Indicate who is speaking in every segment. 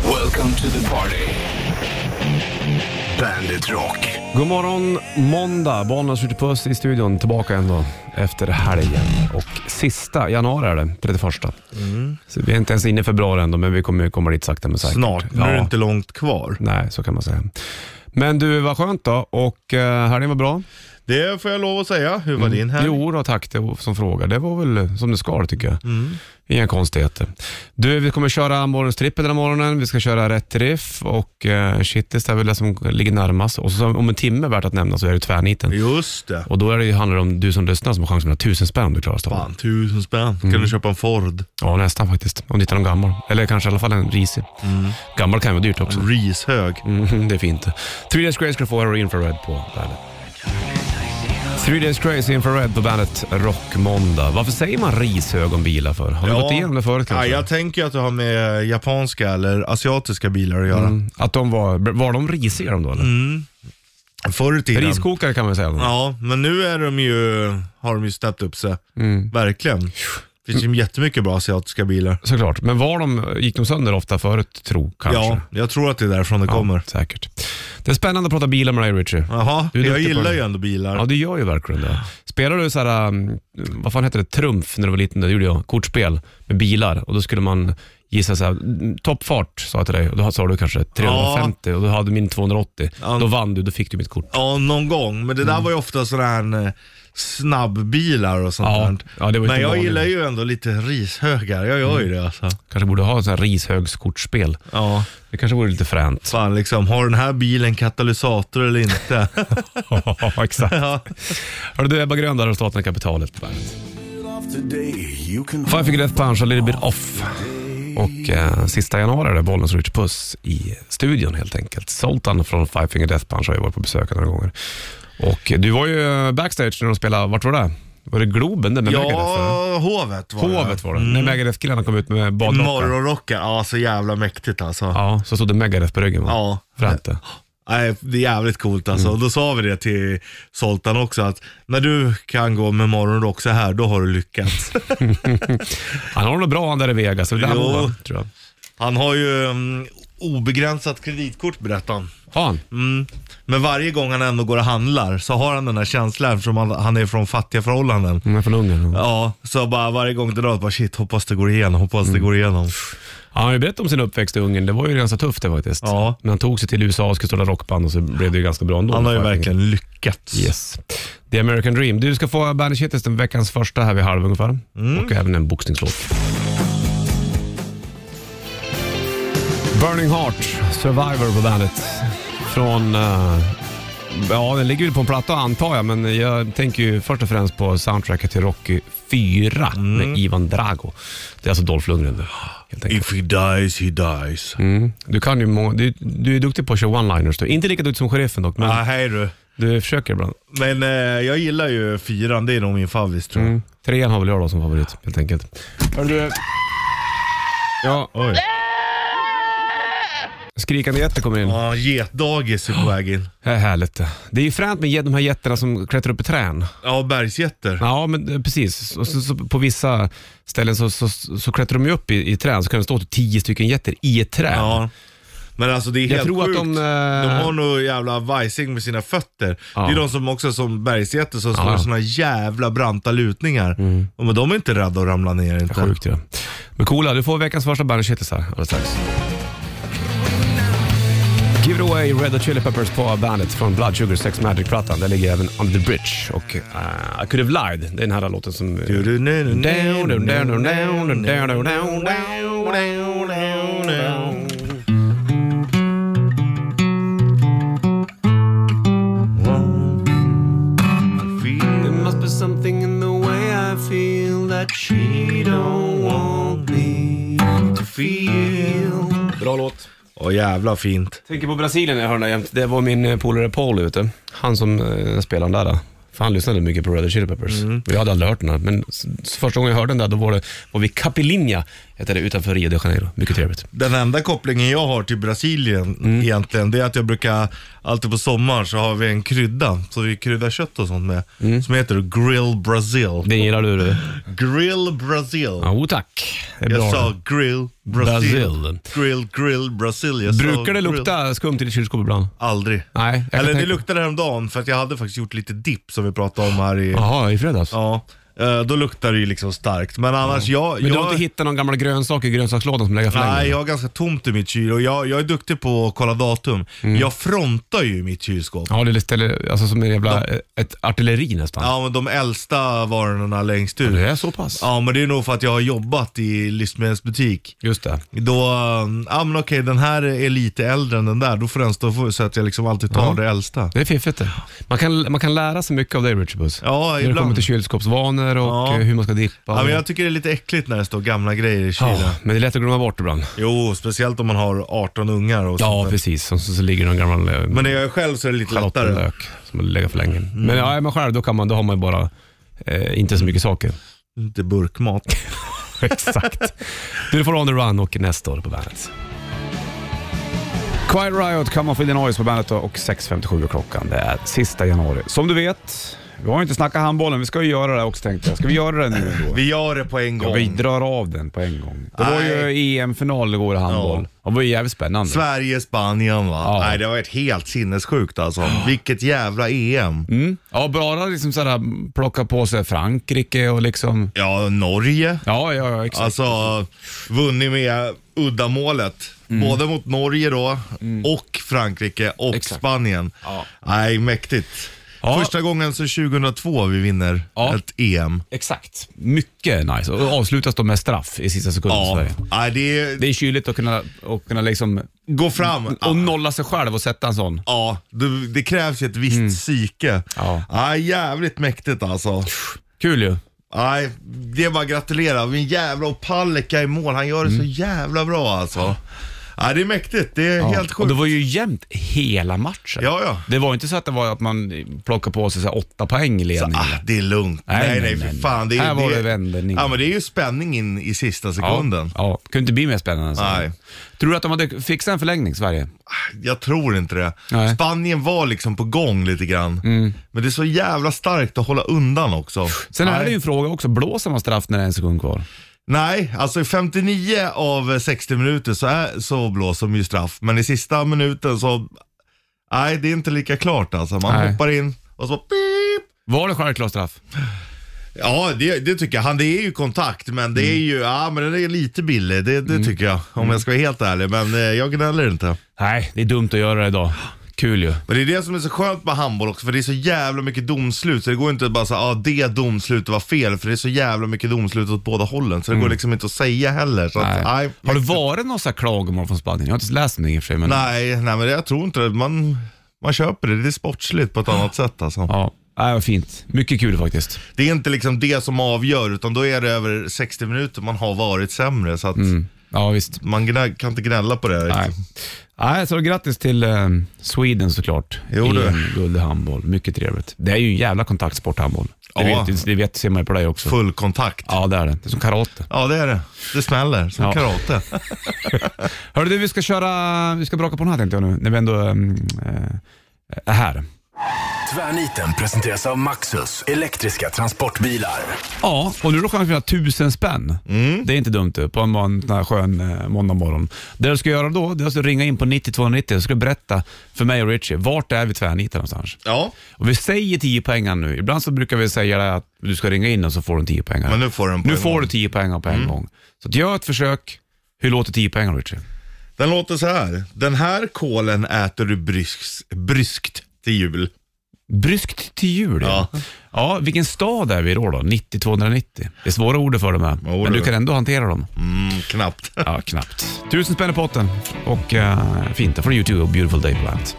Speaker 1: Welcome to the party. Bandit Rock.
Speaker 2: God morgon måndag, Bollnäs ute på oss i studion. Tillbaka igen då efter helgen. Och sista januari är det, 31.
Speaker 3: Mm.
Speaker 2: Så vi är inte ens inne i februari ändå, men vi kommer ju komma dit sakta men säkert.
Speaker 3: Snart, nu är det inte långt kvar.
Speaker 2: Nej, så kan man säga. Men du, vad skönt då. Och eh, helgen var bra.
Speaker 3: Det får jag lov att säga. Hur var din helg?
Speaker 2: Mm. Jo då, tack det var som frågar. Det var väl som det ska tycker jag.
Speaker 3: Mm.
Speaker 2: Inga konstigheter. Du, vi kommer köra morgonstrippen den här morgonen. Vi ska köra rätt riff och eh, shitlist är väl det som ligger närmast. Och så, om en timme värt att nämna så är det tvärniten.
Speaker 3: Just det.
Speaker 2: Och då är det ju, handlar det om du som lyssnar som har chansen att ha tusen spänn om du klarar staven.
Speaker 3: Fan, tusen spänn. Kan
Speaker 2: Mm.
Speaker 3: du köpa en Ford?
Speaker 2: Ja, nästan faktiskt. Om du hittar någon gammal. Eller kanske i alla fall en risig.
Speaker 3: Mm.
Speaker 2: Gammal kan ju vara dyrt också.
Speaker 3: Rishög.
Speaker 2: Mm, det är fint. Three Days Grace ska få Aero Infrared på bandet. Three Days Grace Infrared på bandet Rockmåndag. Varför säger man rishög om bilar för? Har vi gått igenom det förut
Speaker 3: ja,
Speaker 2: kanske?
Speaker 3: jag tänker att det har med japanska eller asiatiska bilar att göra.
Speaker 2: Mm, Att de var, var de risiga de då eller?
Speaker 3: Förr i tiden.
Speaker 2: Riskokare kan man säga.
Speaker 3: Mm. Ja, men nu är de ju, har de ju snäppt upp sig.
Speaker 2: Mm.
Speaker 3: Verkligen. Det finns ju jättemycket bra asiatiska bilar.
Speaker 2: Såklart. Men var de, gick de sönder ofta förut tro kanske?
Speaker 3: Ja, jag tror att det är därifrån det kommer.
Speaker 2: Säkert. Det är spännande att prata bilar med dig Richie.
Speaker 3: Jaha,
Speaker 2: Du är
Speaker 3: jag
Speaker 2: duktig på
Speaker 3: gillar
Speaker 2: det.
Speaker 3: ju ändå bilar.
Speaker 2: Ja, du gör ju verkligen det. Spelar du så här, um, vad fan hette det, trumf när du var liten? Det gjorde jag. Kortspel med bilar och då skulle man gissa så här, mm, toppfart sa jag till dig och då sa du kanske 350 och då hade min 280.
Speaker 3: Ja.
Speaker 2: Då vann du, då fick du mitt kort.
Speaker 3: Ja, någon gång. Men det
Speaker 2: Mm.
Speaker 3: där var ju ofta sådana här eh, snabbbilar och sånt
Speaker 2: Ja,
Speaker 3: där.
Speaker 2: ja, det var Mm. ju
Speaker 3: Men
Speaker 2: inte
Speaker 3: jag
Speaker 2: vanligt.
Speaker 3: gillar ju ändå lite rishögar. Jag gör ju det alltså.
Speaker 2: Kanske borde ha en sån här rishögskortspel.
Speaker 3: Ja,
Speaker 2: Det kanske vore lite fränt.
Speaker 3: fan liksom. Har den här bilen katalysator eller inte?
Speaker 2: ja, exakt.
Speaker 3: ja.
Speaker 2: Hörru du, Ebba Grön där och Staten och kapitalet på bandet.
Speaker 1: Today you can
Speaker 2: Five Finger Death Punch, A Little Bit Off. Och eh, sista januari är det Bollnäs Rich Puss i studion helt enkelt. Zoltan från Five Finger Death Punch har ju varit på besök några gånger. Och eh, du var ju eh, backstage när de spelade, vart var det? Var det Globen där med Megadeth? eller?
Speaker 3: ja Mm. hovet var det.
Speaker 2: Hovet var det, när Megadeth-killarna kom ut med badrockar.
Speaker 3: Morgonrockar. Ja, så jävla mäktigt alltså. Ja.
Speaker 2: Ja, så stod det Megadeth på ryggen va? Fränt det.
Speaker 3: Nej, det är jävligt coolt alltså.
Speaker 2: Mm.
Speaker 3: Och då sa vi det till Zoltan också att när du kan gå med morgonrock så här, då har du lyckats.
Speaker 2: Han har nog bra han där i Vegas, så det där
Speaker 3: Jo.
Speaker 2: var, va, tror jag.
Speaker 3: Han har ju mm, obegränsat kreditkort berättade han.
Speaker 2: Har han?
Speaker 3: Mm. Men varje gång han ändå går och handlar så har han den här känslan eftersom han, han är från fattiga förhållanden.
Speaker 2: Han är från Ungern. Ja.
Speaker 3: Ja, så bara varje gång det drar, bara shit, hoppas det går igenom, hoppas det går igenom.
Speaker 2: Han har ju berättat om sin uppväxt i Ungern, det var ju ganska tufft det faktiskt.
Speaker 3: Ja.
Speaker 2: När han tog sig till USA och skulle starta rockband och så blev det ju ganska bra ändå.
Speaker 3: Han har ju
Speaker 2: Five Finger.
Speaker 3: verkligen lyckats.
Speaker 2: Yes. The American Dream. Du ska få Bandage Hitlist, den veckans första här vid halv ungefär. Och även en boxningslåt. Burning Heart, Survivor på bandet. Från... eh, ja, den ligger ju på en platta antar jag, men jag tänker ju först och främst på soundtracket till Rocky 4 med Ivan Drago. Det är alltså Dolph Lundgren det, helt enkelt.
Speaker 3: If he dies, he dies.
Speaker 2: Mm. Du kan ju må- du, du är duktig på att köra one-liners. Du. Inte lika duktig som sheriffen dock, men
Speaker 3: Ja, hej du.
Speaker 2: du försöker ibland.
Speaker 3: Men eh, jag gillar ju fyran, det är nog min favvis tror jag.
Speaker 2: Mm. Trean har väl jag då som favorit helt enkelt. Hör du... Ja,
Speaker 3: Oj.
Speaker 2: skrikande getter kommer in.
Speaker 3: Ja, getdagis är på väg in.
Speaker 2: Det är härligt. Det är ju fränt med get- de här getterna som klättrar upp i träd.
Speaker 3: Ja, bergsgetter.
Speaker 2: Ja, men eh, precis. Och så, så, på vissa ställen så, så, så klättrar de ju upp i, i träd, så kan det stå typ tio stycken getter i ett träd.
Speaker 3: Ja. Men alltså det är
Speaker 2: Jag
Speaker 3: helt
Speaker 2: tror att
Speaker 3: sjukt.
Speaker 2: de, eh,
Speaker 3: de har nog jävla vajsing med sina fötter.
Speaker 2: Ja.
Speaker 3: Det är de som också som bergsgetter som står
Speaker 2: Ja.
Speaker 3: i såna jävla branta lutningar. Och men de är inte rädda att ramla ner inte.
Speaker 2: Sjukt ju. Ja. Men coola, du får veckans första Bandage Hitlist här alldeles strax. Give it away Red Hot Chili Peppers på bandet från Blood Sugar Sex Magic-plattan. Där ligger även Under the Bridge och eh, I Could Have Lied. Det är den här låten som... eh,
Speaker 3: Du, du, nu, nu, nu,
Speaker 2: Down,
Speaker 3: nu,
Speaker 2: down, down, down, down, down,
Speaker 3: nu, nu.
Speaker 2: down, down, down, down, down. There must be something in the way I feel that she don't want me to feel. Bra låt.
Speaker 3: Åh jävla fint.
Speaker 2: Tänker på Brasilien jag hör den här jämt. Det var min eh, polare Paul ute. Han som eh, spelar den där. eh. För han lyssnade mycket på Red Hot Chili Peppers.
Speaker 3: Mm.
Speaker 2: Jag hade aldrig hört den här, men s- s- första gången jag hörde den där då var det var vid Capilinha, heter det, utanför Rio de Janeiro. Mycket trevligt.
Speaker 3: Den enda kopplingen jag har till Brasilien
Speaker 2: Mm.
Speaker 3: egentligen, det är att jag brukar, alltid på sommaren så har vi en krydda, så vi kryddar kött och sånt med,
Speaker 2: Mm.
Speaker 3: som heter Grill Brazil.
Speaker 2: Den gillar du? du.
Speaker 3: Grill Brazil.
Speaker 2: Ja, o tack. Det är
Speaker 3: jag
Speaker 2: bra.
Speaker 3: sa grill
Speaker 2: Brazil.
Speaker 3: Grill, grill, Brazil. Jag sa
Speaker 2: Brukar det
Speaker 3: grill.
Speaker 2: lukta skumt i ditt kylskåp ibland?
Speaker 3: Aldrig.
Speaker 2: Nej, jag kan
Speaker 3: Eller det
Speaker 2: tänka-
Speaker 3: luktade häromdagen för att jag hade faktiskt gjort lite dipp som vi pratade om här i...
Speaker 2: Jaha, i fredags?
Speaker 3: Ja. Eh, Då luktar det ju liksom starkt. Men annars, jag...
Speaker 2: Men du
Speaker 3: jag...
Speaker 2: har inte hittat någon gammal grönsak i grönsakslådan som lägger för
Speaker 3: Nej,
Speaker 2: länge?
Speaker 3: jag har ganska tomt i mitt kyl och jag, jag är duktig på att kolla datum. Jag frontar ju mitt kylskåp.
Speaker 2: Mm. Ja, det ställer, alltså som en jävla, ett artilleri nästan.
Speaker 3: Ja, men de äldsta varorna längst ut.
Speaker 2: Det är så pass?
Speaker 3: Ja, men det är nog för att jag har jobbat i livsmedelsbutik.
Speaker 2: Just det.
Speaker 3: Då, eh, ja men okej den här är lite äldre än den där, då får den stå för, så att jag liksom alltid tar
Speaker 2: Ja.
Speaker 3: det äldsta.
Speaker 2: Det är fiffigt det. Man kan, man kan lära sig mycket av dig Richard Puss.
Speaker 3: Ja,
Speaker 2: När det kommer
Speaker 3: ibland.
Speaker 2: till kylskåpsvanor och
Speaker 3: Ja.
Speaker 2: eh, hur man ska dippa.
Speaker 3: Ja,
Speaker 2: och-
Speaker 3: men jag tycker det är lite äckligt när det står gamla grejer i kylen.
Speaker 2: Ja, men det är lätt att glömma bort ibland.
Speaker 3: Jo, speciellt om man har 18 ungar och
Speaker 2: Ja,
Speaker 3: sånt där.
Speaker 2: precis. Och så, så ligger någon gammal eh,
Speaker 3: Men när jag är själv så är det lite lättare.
Speaker 2: schalottenlök som har legat för länge. Men ja, är man själv då, kan man, då har man ju bara eh, inte så mycket saker.
Speaker 3: Lite burkmat.
Speaker 2: Exakt. Du får On the Run och nästa år på bandet. Quiet Riot, Come Off With The Noise på bandet då, och 6.57 är klockan. Det är sista januari. Som du vet, vi har ju inte snackat handbollen. Vi ska ju göra det också tänkte jag. Ska vi göra det nu ändå?
Speaker 3: Vi gör det på en
Speaker 2: Ja, vi
Speaker 3: gång.
Speaker 2: drar av den på en gång. Det var ju
Speaker 3: Nej.
Speaker 2: EM-final igår i handboll. Det var ju jävligt spännande.
Speaker 3: Sverige-Spanien va?
Speaker 2: Ja.
Speaker 3: Nej, det var ett helt sinnessjukt alltså. Vilket jävla E EM.
Speaker 2: Mm. Ja, bara liksom sådär plocka på sig Frankrike och liksom...
Speaker 3: Ja, Norge.
Speaker 2: Ja, ja, ja, exakt.
Speaker 3: Alltså, vunnit med uddamålet.
Speaker 2: Mm.
Speaker 3: Både mot Norge då, och Frankrike och
Speaker 2: Exakt.
Speaker 3: Spanien.
Speaker 2: Ja.
Speaker 3: Nej, mäktigt.
Speaker 2: Ja.
Speaker 3: Första gången sedan 2002 vi vinner
Speaker 2: Ja.
Speaker 3: ett E EM.
Speaker 2: Exakt. Mycket nice. Och avslutas då med straff i sista sekunden för
Speaker 3: Ja,
Speaker 2: Sverige.
Speaker 3: Nej, det är...
Speaker 2: Det är kyligt att kunna, att kunna liksom...
Speaker 3: Gå fram.
Speaker 2: Och nolla sig själv och sätta en sån.
Speaker 3: Ja, det, det krävs ju ett visst psyke.
Speaker 2: Mm. Ja.
Speaker 3: Nej, jävligt mäktigt alltså.
Speaker 2: Kul ju.
Speaker 3: Nej, det är bara att gratulera. Men jävla och Palicka i mål, han gör det
Speaker 2: Mm.
Speaker 3: så jävla bra alltså. Nej, det är mäktigt. Det är helt
Speaker 2: Och
Speaker 3: sjukt.
Speaker 2: det var ju jämnt hela matchen.
Speaker 3: Ja, ja.
Speaker 2: Det var ju inte så att det var att man plockade på sig så här åtta poäng i ledningen.
Speaker 3: Ah, det är lugnt.
Speaker 2: Mm. Nej,
Speaker 3: Nej, nej,
Speaker 2: nej,
Speaker 3: för
Speaker 2: nej.
Speaker 3: fan. Det är,
Speaker 2: Här var det vändning.
Speaker 3: vändning. Ja, men det är ju spänning in i sista
Speaker 2: ja,
Speaker 3: sekunden.
Speaker 2: ja, kunde inte bli mer spännande än så.
Speaker 3: Nej.
Speaker 2: Tror du att de hade fixat en förlängning, Sverige?
Speaker 3: Ah, Jag tror inte det.
Speaker 2: Nej. Mm.
Speaker 3: Spanien var liksom på gång lite grann. Men det är så jävla starkt att hålla undan också.
Speaker 2: Sen
Speaker 3: nej.
Speaker 2: är det ju en fråga också, blåser man straff när det är en sekund kvar?
Speaker 3: Nej, alltså i 59 av eh, 60 minuter så, är, så blåser de ju straff. Men i sista minuten så, nej det är inte lika klart alltså. Man
Speaker 2: Nej.
Speaker 3: hoppar in och så pip.
Speaker 2: Var det självklar straff?
Speaker 3: Ja, det, det tycker jag. Han, det är ju kontakt, men det är
Speaker 2: Mm.
Speaker 3: ju, ja men det är lite billig. Det, det tycker jag, om jag ska vara helt ärlig. Men eh, jag gnäller inte.
Speaker 2: Nej, det är dumt att göra det idag. Kul ju.
Speaker 3: Men det är det som är så skönt med handboll också, för det är så jävla mycket domslut. Så det går inte att bara säga, ah, det domslutet var fel, för det är så jävla mycket domslut åt båda hållen. Så det går liksom inte att säga heller. Så nej. Att, nej,
Speaker 2: Mm. Har det varit några så här klagomål från Spanien? Jag har inte läst om det i och för sig. Men...
Speaker 3: nej, nej, men det, jag tror inte det. Man, man köper det. Det är sportsligt på ett annat sätt alltså.
Speaker 2: Ja, nej, vad fint. Mycket kul faktiskt.
Speaker 3: Det är inte liksom det som avgör, utan då är det över 60 minuter man har varit sämre. Så att
Speaker 2: Ja, visst.
Speaker 3: man gnä, kan inte gnälla på det.
Speaker 2: Mm. Nej. Nej, så grattis till eh, Sweden såklart.
Speaker 3: Jo, du.
Speaker 2: Guld i handboll. Mycket trevligt. Det är ju en jävla kontaktsport handboll. Det,
Speaker 3: Ja.
Speaker 2: vet, det vet, ser man ju på dig också.
Speaker 3: Full kontakt. Ja.
Speaker 2: Ja, det är det. Det är som karate.
Speaker 3: det är det. Det smäller som
Speaker 2: Ja.
Speaker 3: karate.
Speaker 2: Hörru du, vi ska köra... Vi ska braka på den här tänkte jag nu, när vi ändå ehm, eh, är här.
Speaker 1: Tvärniten presenteras av Maxus elektriska transportbilar.
Speaker 2: Ja, och nu är det chans att vinna tusen spänn. Det är inte dumt du, på en mån- sån här skön eh, måndagmorgon. Det du ska göra då, det är att ringa in på 9290 och ska du berätta för mig och Richie, vart är vi tvärnitar någonstans?
Speaker 3: ja,
Speaker 2: Och vi säger 10 pengar nu. Ibland så brukar vi säga det att du ska ringa in och så får du 10 pengar.
Speaker 3: men nu får den på
Speaker 2: Nu
Speaker 3: en
Speaker 2: får
Speaker 3: gång.
Speaker 2: du 10 pengar på en gång. Så att gör ett försök. Hur låter 10 pengar Richie?
Speaker 3: Den låter så här. Den här kålen äter du bryskt, bryskt till jul.
Speaker 2: Bryskt till jul ja. ja. vilken stad är vi då då? 90-290. Det är svåra ord för dem här,
Speaker 3: du.
Speaker 2: men du kan ändå hantera dem.
Speaker 3: Mm, knappt.
Speaker 2: Ja, knappt. Tusen spänn i potten och eh, fint. Där får du YouTube och Beautiful Day på bandet.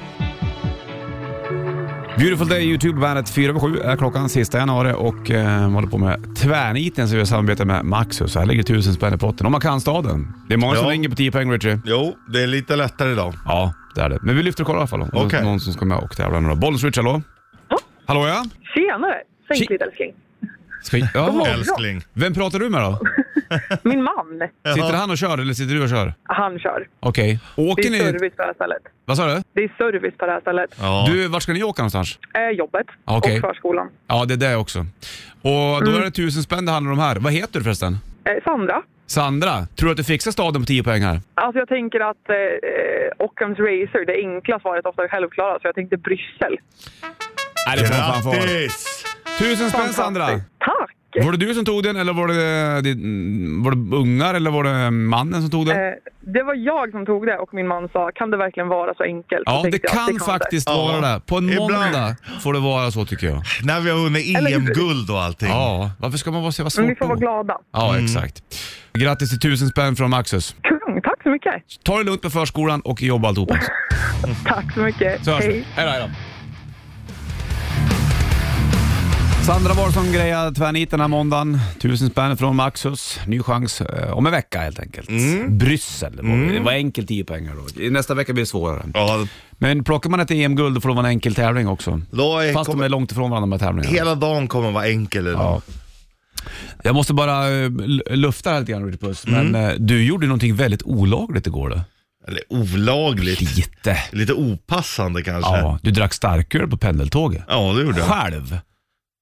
Speaker 2: Beautiful Day YouTube bandet 4 över 7 är klockan sista januari och eh, vi håller på med tvärniten som vi samarbetar med Maxus. Här ligger tusen spänn i potten om man kan staden. Det är många som
Speaker 3: Ja.
Speaker 2: ringer på 10 poäng Richie.
Speaker 3: Jo, det är lite lättare idag.
Speaker 2: Ja, det är det. Men vi lyfter och kollar i alla fall om det
Speaker 3: Okej.
Speaker 2: är någon som ska med och tävla nu då. Bollens Richie, hallå? Hallå ja?
Speaker 4: Tjenare!
Speaker 2: Tje-
Speaker 4: Säg till älskling.
Speaker 2: Ska, ja.
Speaker 4: morgon.
Speaker 3: Älskling.
Speaker 2: Vem pratar du med då?
Speaker 4: Min man,
Speaker 2: Sitter han och kör eller sitter du och kör?
Speaker 4: han kör.
Speaker 2: Okej.
Speaker 4: Det
Speaker 2: Åker
Speaker 4: är
Speaker 2: ni...
Speaker 4: service på det här stället.
Speaker 2: Vad sa du?
Speaker 4: Det är service på det här stället.
Speaker 3: Ja.
Speaker 2: Du, vart ska ni åka någonstans?
Speaker 4: Eh, jobbet
Speaker 2: Okej.
Speaker 4: och förskolan. Mm.
Speaker 2: Ja, det är det också. Och då är det tusen spänn det handlar om här. Vad heter du förresten?
Speaker 4: Eh, Sandra,
Speaker 2: Sandra, tror du att du fixar staden på 10 poäng här?
Speaker 4: Alltså jag tänker att eh, eh, Ockhams Racer, det enkla svaret ofta är självklara, så jag tänkte Bryssel.
Speaker 2: Nej, det får man fan få.
Speaker 3: Grattis!
Speaker 2: Tusen spänn Sandra!
Speaker 4: Fantastiskt. Tack!
Speaker 2: Var det du som tog den eller var det, din- var det ungar eller var det mannen som tog den?
Speaker 4: Eh, det var jag som tog det och min man sa, kan det verkligen vara så enkelt?
Speaker 2: ja,
Speaker 4: Så
Speaker 2: det
Speaker 4: tänkte jag,
Speaker 2: kan faktiskt
Speaker 3: Ja.
Speaker 2: vara det. På en
Speaker 3: Ibland.
Speaker 2: måndag får det vara så tycker jag.
Speaker 3: När vi har vunnit
Speaker 4: Eller hur?
Speaker 3: EM-guld och allting.
Speaker 2: Ja, varför ska man vara så jävla
Speaker 4: Men vi
Speaker 2: svårt
Speaker 4: får vara
Speaker 2: då?
Speaker 4: glada.
Speaker 2: Ja,
Speaker 3: Mm.
Speaker 2: exakt. Grattis till tusen spänn från Maxus.
Speaker 4: Kung, tack så mycket!
Speaker 2: Ta det lugnt med förskolan och jobba alltihopa.
Speaker 4: Tack så mycket!
Speaker 2: Så hörs vi. Hej då, hej då. Sandra Wahlsson grejade tvärniten den här måndagen. Tusen spänn från Maxus. Ny chans eh, om en vecka helt enkelt. Bryssel. Var det. det var enkelt 10 pengar då. Nästa vecka blir det svårare.
Speaker 3: Ja,
Speaker 2: Men plockar man ett EM-guld då får det vara en enkel tävling också.
Speaker 3: då är,
Speaker 2: Fast de
Speaker 3: kommer,
Speaker 2: är långt ifrån varandra de här tävlingarna.
Speaker 3: hela dagen kommer vara enkel idag.
Speaker 2: Ja. Jag måste bara eh, l- lufta det här lite grann, Richard Puss. Men eh, du gjorde någonting väldigt olagligt igår då.
Speaker 3: Eller olagligt.
Speaker 2: Lite.
Speaker 3: Lite opassande kanske. Ja,
Speaker 2: Ja, du drack starköl på pendeltåget.
Speaker 3: det gjorde jag.
Speaker 2: Själv.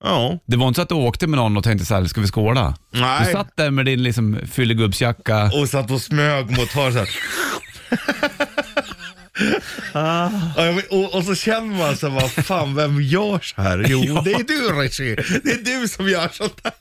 Speaker 3: Ja.
Speaker 2: Det var inte så att du åkte med någon och tänkte så här, ska vi skåla?
Speaker 3: Nej.
Speaker 2: Du satt där med din liksom fyllegubbsjacka.
Speaker 3: Och satt och smög mot hörnet såhär.
Speaker 2: Ah.
Speaker 3: Ja, jag vet- och, och så känner man så här, vad fan, vem gör så här? Jo,
Speaker 2: Ja.
Speaker 3: det är du Richie. Det är du som gör sånt här.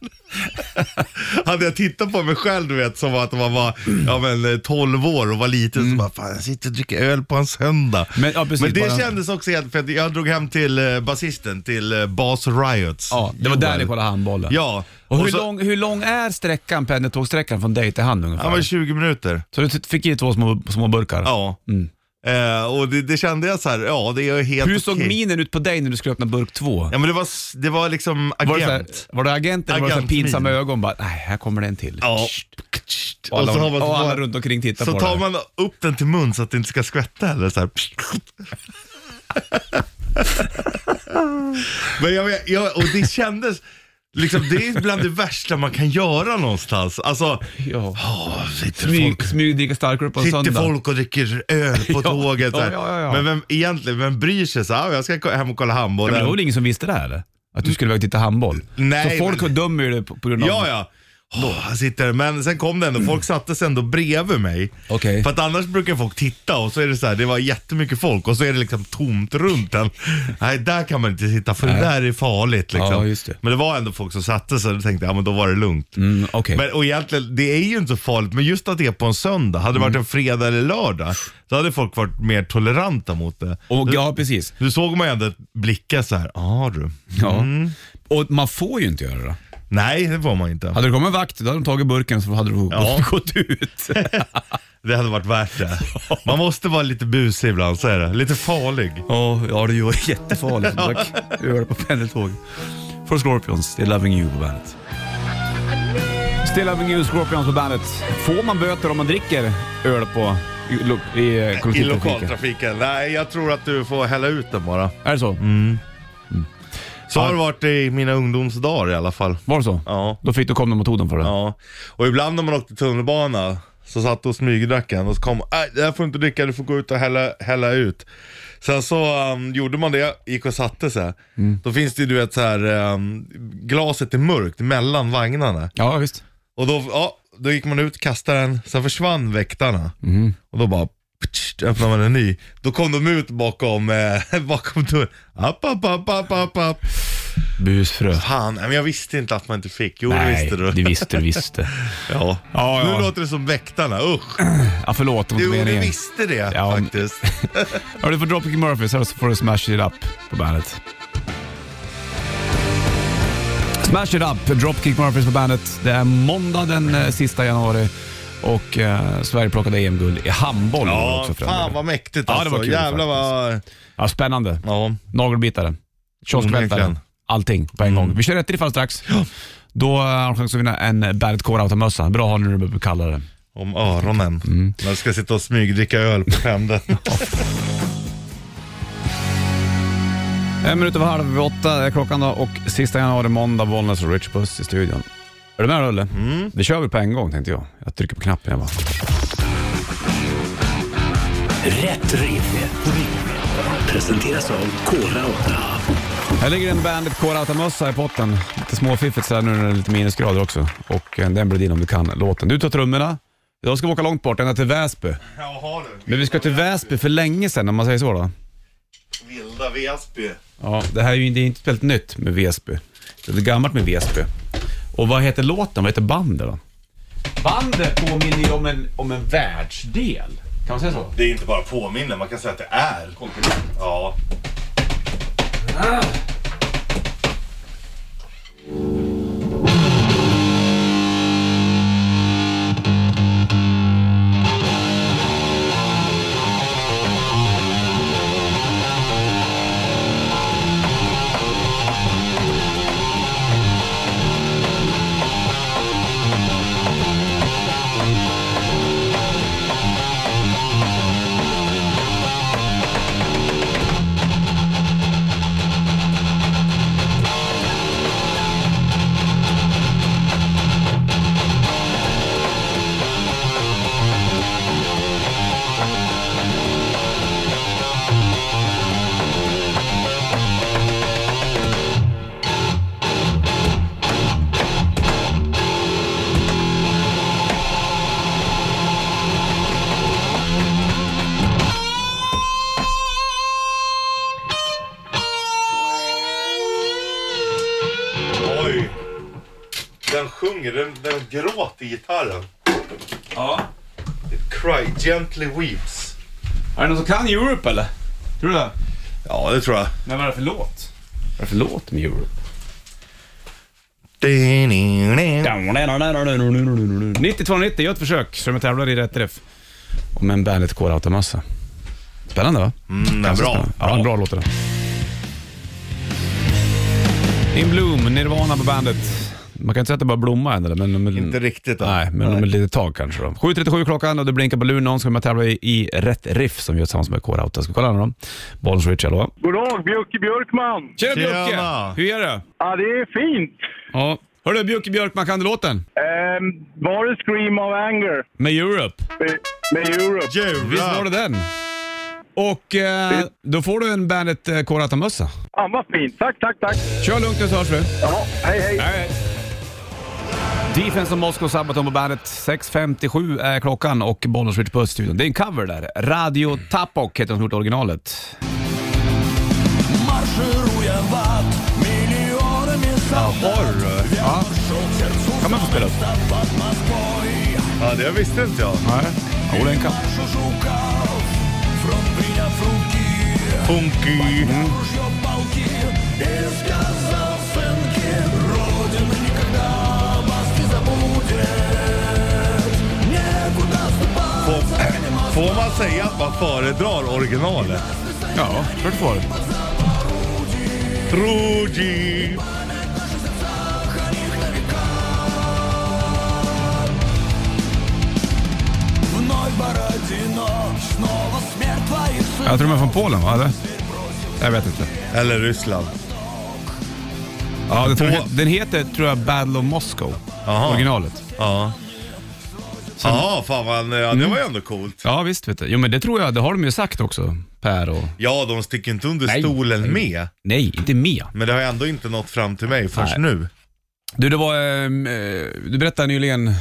Speaker 3: Hade jag tittat på mig själv, du vet, som att man var ja, men, eh, 12 år och var liten, så bara, fan jag sitter och dricker öl på en söndag.
Speaker 2: Mm. Men, ja, precis,
Speaker 3: men det
Speaker 2: bara-
Speaker 3: kändes också helt, för att jag drog hem till eh, basisten, till eh, Bas Riots.
Speaker 2: Ja, det var
Speaker 3: Joel.
Speaker 2: där ni kollade handbollen.
Speaker 3: Ja.
Speaker 2: Och hur,
Speaker 3: Och så-
Speaker 2: lång, hur lång är sträckan, pendeltågssträckan från dig till han ungefär?
Speaker 3: Han var 20 minuter.
Speaker 2: Så du t- fick i två små, små burkar?
Speaker 3: Ja. Eh, och det, det kände jag så här, ja det är helt
Speaker 2: Mm. Hur såg
Speaker 3: okej.
Speaker 2: minen ut på dig när du skulle öppna burk två?
Speaker 3: Ja men det var, s- det var liksom
Speaker 2: Var det, så här,
Speaker 3: agent.
Speaker 2: var det agenten eller var det så här
Speaker 3: Agentmin.
Speaker 2: pinsamma ögon? Bara, nej, här kommer det en till.
Speaker 3: Ja.
Speaker 2: Och alla,
Speaker 3: Och så har man-
Speaker 2: och alla runt omkring tittar
Speaker 3: Så
Speaker 2: på
Speaker 3: tar
Speaker 2: det.
Speaker 3: man upp den till mun så att det inte ska skvätta heller. Så här. men jag, vet- jag, och det kändes, liksom, det är bland det värsta man kan göra någonstans. Alltså,
Speaker 2: Ja.
Speaker 3: åh, sitter folk
Speaker 2: Smyg, smygdricka starköl på en
Speaker 3: Sitter
Speaker 2: söndag.
Speaker 3: folk och dricker öl på
Speaker 2: Ja,
Speaker 3: tåget. så här.
Speaker 2: ja, ja, ja.
Speaker 3: Men vem, egentligen, vem bryr sig? Så här, "Ah, jag ska ko- hem och kolla
Speaker 2: Ja,
Speaker 3: handbollen.
Speaker 2: men det var väl ingen som visste det här eller? Att du skulle iväg och titta handboll?
Speaker 3: Nej,
Speaker 2: så folk
Speaker 3: men-
Speaker 2: dömer ju det på på grund av...
Speaker 3: Ja, ja. Åh, han sitter, men sen kom det ändå, folk satte sig ändå bredvid mig.
Speaker 2: Okej.
Speaker 3: För att annars brukar folk titta och så är det så här, det var jättemycket folk och så är det liksom tomt runt en. Nej, där kan man inte sitta för det där är farligt liksom.
Speaker 2: Ja, just det.
Speaker 3: Men det var ändå folk som satte sig och då tänkte jag, ja men då var det lugnt.
Speaker 2: Mm, Okej.
Speaker 3: Men, och egentligen, det är ju inte så farligt, men just att det är på en söndag. Hade det varit
Speaker 2: Mm.
Speaker 3: en fredag eller lördag, då hade folk varit mer toleranta mot det.
Speaker 2: Och, ja, precis.
Speaker 3: Nu såg man ju ändå blickar så här, ja du.
Speaker 2: Ja. Och man får ju inte göra det.
Speaker 3: Nej, det var man inte.
Speaker 2: Hade det kommit en vakt, då hade de tagit burken så hade du
Speaker 3: Ja.
Speaker 2: gått ut.
Speaker 3: Det hade varit värt det. Man måste vara lite busig ibland, så är det. Lite farlig.
Speaker 2: Ja, ja det är jättefarligt. som sagt. Du gör det på pendeltåg. For Scorpions, Still Loving You på bandet. Still Loving You, Scorpions på bandet. Får man böter om man dricker öl på i, lo- i eh,
Speaker 3: I
Speaker 2: kollektivtrafiken?
Speaker 3: lokaltrafiken? Nej, jag tror att du får hälla ut den bara.
Speaker 2: Är det så?
Speaker 3: Så har det varit i mina ungdomsdagar i alla fall.
Speaker 2: Var det så?
Speaker 3: Ja.
Speaker 2: Då fick du kom de och tog den för det?
Speaker 3: Ja. Och ibland när man åkte tunnelbana så satt och smygdrack en och så kom "Aj, det här får du inte dricka, du får gå ut och hälla, hälla ut. Sen så um, gjorde man det, gick och satte sig. Då finns det ju du vet så här, um, glaset är mörkt mellan vagnarna.
Speaker 2: Ja, visst.
Speaker 3: Och då, ja, då gick man ut, kastade den, sen försvann väktarna.
Speaker 2: Mm.
Speaker 3: Och då bara ptsch, öppnade man en ny. Då kom de ut bakom, eh, bakom dörren. App, app, app, app, app, app.
Speaker 2: Busfrö.
Speaker 3: Fan, nej, men jag visste inte att man inte fick. Jo, det
Speaker 2: Nej,
Speaker 3: visste du.
Speaker 2: det visste du visste.
Speaker 3: Ja.
Speaker 2: Ja, ja.
Speaker 3: Nu låter det som väktarna, usch.
Speaker 2: Ja, förlåt. Det var
Speaker 3: Jo,
Speaker 2: inte
Speaker 3: du
Speaker 2: meningen.
Speaker 3: visste det
Speaker 2: Ja, men-
Speaker 3: faktiskt.
Speaker 2: Hör du får Dropkick Murphys här så får du Smash It Up på bandet. Smash It Up, Dropkick Murphys på bandet. Det är måndag den eh, sista januari och eh, Sverige plockade EM-guld i handboll.
Speaker 3: Ja,
Speaker 2: också för den
Speaker 3: fan
Speaker 2: delen.
Speaker 3: vad mäktigt
Speaker 2: Ja, det
Speaker 3: alltså.
Speaker 2: var kul
Speaker 3: Jävlar vad...
Speaker 2: ja, spännande.
Speaker 3: Ja.
Speaker 2: Nagelbitare, kioskvältare,
Speaker 3: Onekligen.
Speaker 2: allting på en
Speaker 3: Mm.
Speaker 2: gång. Vi kör rätt i fall strax. Då eh, har du chans att vinna en Bandet Core-automössa. Bra att ha nu när du blir kallare.
Speaker 3: Om öronen.
Speaker 2: Mm.
Speaker 3: När du ska sitta och smygdricka öl på pendeln.
Speaker 2: En minut över halv åtta är klockan då och sista januari måndag, Bollnäs och Rich Puss i studion. Är du med Rulle? Mm. Det kör vi på en gång tänkte jag. Jag trycker på knappen jag bara.
Speaker 1: Rätt riff. Presenteras av Kora 8.
Speaker 2: Här ligger en Bandit Core i potten. Lite småfiffigt sådär nu när det är lite minusgrader också. Och eh, den blir din om du kan låten. Du tar trummorna. Idag ska vi åka långt bort, ända till Väsby.
Speaker 3: Jaha du.
Speaker 2: Men vi ska till Väsby för länge sedan om man säger så då.
Speaker 3: Vilda Väsby.
Speaker 2: Ja, det här är ju inte- det är inte helt nytt med Väsby. Det är gammalt med Väsby. Och vad heter låten? Vad heter bandet då? Bandet påminner ju om en, om en världsdel. Kan man säga så?
Speaker 3: Det är inte bara påminner, man kan säga att det är. Ja. Oj. Den sjunger, den, den gråter gitarren.
Speaker 2: Ja.
Speaker 3: It cry, gently weeps.
Speaker 2: Är det någon som kan Europe eller? Tror du det?
Speaker 3: Ja, det tror jag.
Speaker 2: Men vad är det för låt? Vad är det för låt med Europe? 9290, gör ett försök så de tävlar i rätt träff. Och med en Bandit Core Automassa. Spännande va? Mm,
Speaker 3: bra.
Speaker 2: Ja, en bra låt det där. In Bloom, Nirvana på bandet. Man kan inte säga att det bara blommar än, eller, men... men
Speaker 3: Inte riktigt då.
Speaker 2: Nej, men om ett litet tag kanske. Då. 7.37 klockan och det blinkar på luren. Någon ska med tävla i, i Rätt Riff som vi gör tillsammans med Core Auto. Ska vi kolla nu då? Bollnäs Rich, hallå.
Speaker 5: God dag, Björke Björkman.
Speaker 2: Tjena Björke!
Speaker 3: Tjena.
Speaker 2: Hur är det?
Speaker 5: Ja, det är fint.
Speaker 2: Ja. Hörru Björke Björkman, kan du låten?
Speaker 5: Ehm, var det Scream of Anger
Speaker 2: Med Europe.
Speaker 5: med, med Europe?
Speaker 2: Visst var det
Speaker 3: Jävlar.
Speaker 2: den? Och eh, då får du en Bandet eh, Core Auto-mössa.
Speaker 5: Ja, vad fint. Tack, tack, tack.
Speaker 2: Kör lugnt nu så hörs vi.
Speaker 5: Ja, hej, hej.
Speaker 2: Hej, hej. Defense of Moscow Sabaton på bandet. 6.57 är klockan och Bollnäs Rich på studion. Det är en cover där. Radio Tapok heter de som gjort originalet.
Speaker 6: Маршируя в ад миллионами солдат
Speaker 2: eh, Ja. Kan man få spela upp?
Speaker 6: под Москвой
Speaker 3: Ja, det visste inte jag.
Speaker 2: Nej. Jo, den kan.
Speaker 6: Нашу Жуков фронт приняв в руки
Speaker 3: Funky.
Speaker 6: Ружье полки и сказал сынке Родина никогда вас не забудет Некуда ступать
Speaker 3: Får, får man säga att man föredrar originalet?
Speaker 2: Ja, klart du får.
Speaker 3: Troji.
Speaker 6: Вновь Бородино, снова смерть твоих сынов
Speaker 2: Jag tror de är från Polen, va? Eller? Jag vet inte.
Speaker 3: Eller Ryssland.
Speaker 2: Ja, det tror jag,
Speaker 3: På-
Speaker 2: den heter, tror jag, Battle of Moscow.
Speaker 3: Aha.
Speaker 2: Originalet.
Speaker 3: Ja. Jaha, fan man, ja,
Speaker 2: Mm.
Speaker 3: det var ju ändå coolt.
Speaker 2: Ja, visst vet du. Jo, men det tror jag. Det har de ju sagt också, Per och...
Speaker 3: Ja, de sticker inte under
Speaker 2: Nej.
Speaker 3: stolen med.
Speaker 2: Nej, inte Mia.
Speaker 3: Men det har ju ändå inte nått fram till mig förrän nu.
Speaker 2: Du, det var, ehm, eh, du berättade nyligen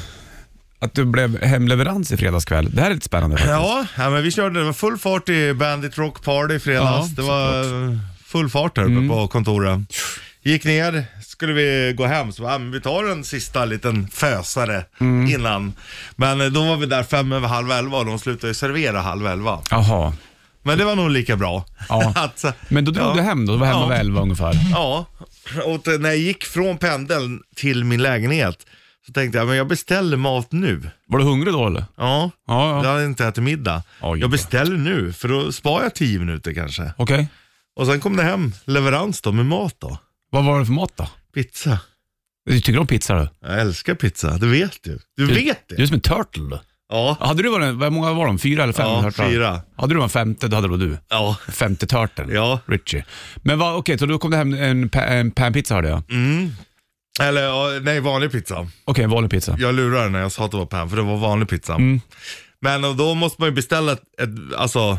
Speaker 2: att du blev hemleverans i fredagskväll. Det här är lite spännande. faktiskt.
Speaker 3: Ja, ja, men vi körde, det var full fart i Bandit Rock Party i fredags.
Speaker 2: Ja, Mm.
Speaker 3: det var eh, full fart där uppe på kontoret. Gick ner, skulle vi gå hem, så bara, ah, men vi tar en sista liten fösare
Speaker 2: Mm.
Speaker 3: innan. Men eh, då var vi där fem över halv elva och de slutade ju servera halv elva.
Speaker 2: Jaha.
Speaker 3: Men det var nog lika bra.
Speaker 2: Ja.
Speaker 3: Att, eh,
Speaker 2: Men då drog
Speaker 3: ja.
Speaker 2: du hem då? Du var hemma
Speaker 3: Ja.
Speaker 2: vid elva ungefär.
Speaker 3: Ja, och eh, när jag gick från pendeln till min lägenhet så tänkte jag, men jag beställer mat nu.
Speaker 2: Var du hungrig då eller?
Speaker 3: Ja,
Speaker 2: Ja,
Speaker 3: jag
Speaker 2: ja.
Speaker 3: hade inte ätit middag.
Speaker 2: Oj.
Speaker 3: jag beställer nu, för då sparar jag 10 minuter kanske.
Speaker 2: Okej.
Speaker 3: Och sen kom det hem leverans då med mat då.
Speaker 2: Vad var det för mat då?
Speaker 3: Pizza.
Speaker 2: Du tycker om pizza du?
Speaker 3: Jag älskar pizza, det vet du. Du vet
Speaker 2: Du är
Speaker 3: det.
Speaker 2: som en turtle du.
Speaker 3: Ja,
Speaker 2: Hade du varit, en- hur många var de? Fyra eller fem?
Speaker 3: Ja,
Speaker 2: turtlar?
Speaker 3: fyra.
Speaker 2: Hade du en femte, då hade det varit du.
Speaker 3: ja.
Speaker 2: Femte turteln.
Speaker 3: Ja.
Speaker 2: Richie. Men vad, okej, så då kom det hem en, pa- en panpizza hörde jag.
Speaker 3: Mm.
Speaker 2: Okej,
Speaker 3: Eller ja, nej, vanlig pizza.
Speaker 2: en vanlig pizza.
Speaker 3: Jag lurade när jag sa att det var pan, för det var vanlig pizza.
Speaker 2: Mm.
Speaker 3: Men och då måste man ju beställa ett, ett, alltså,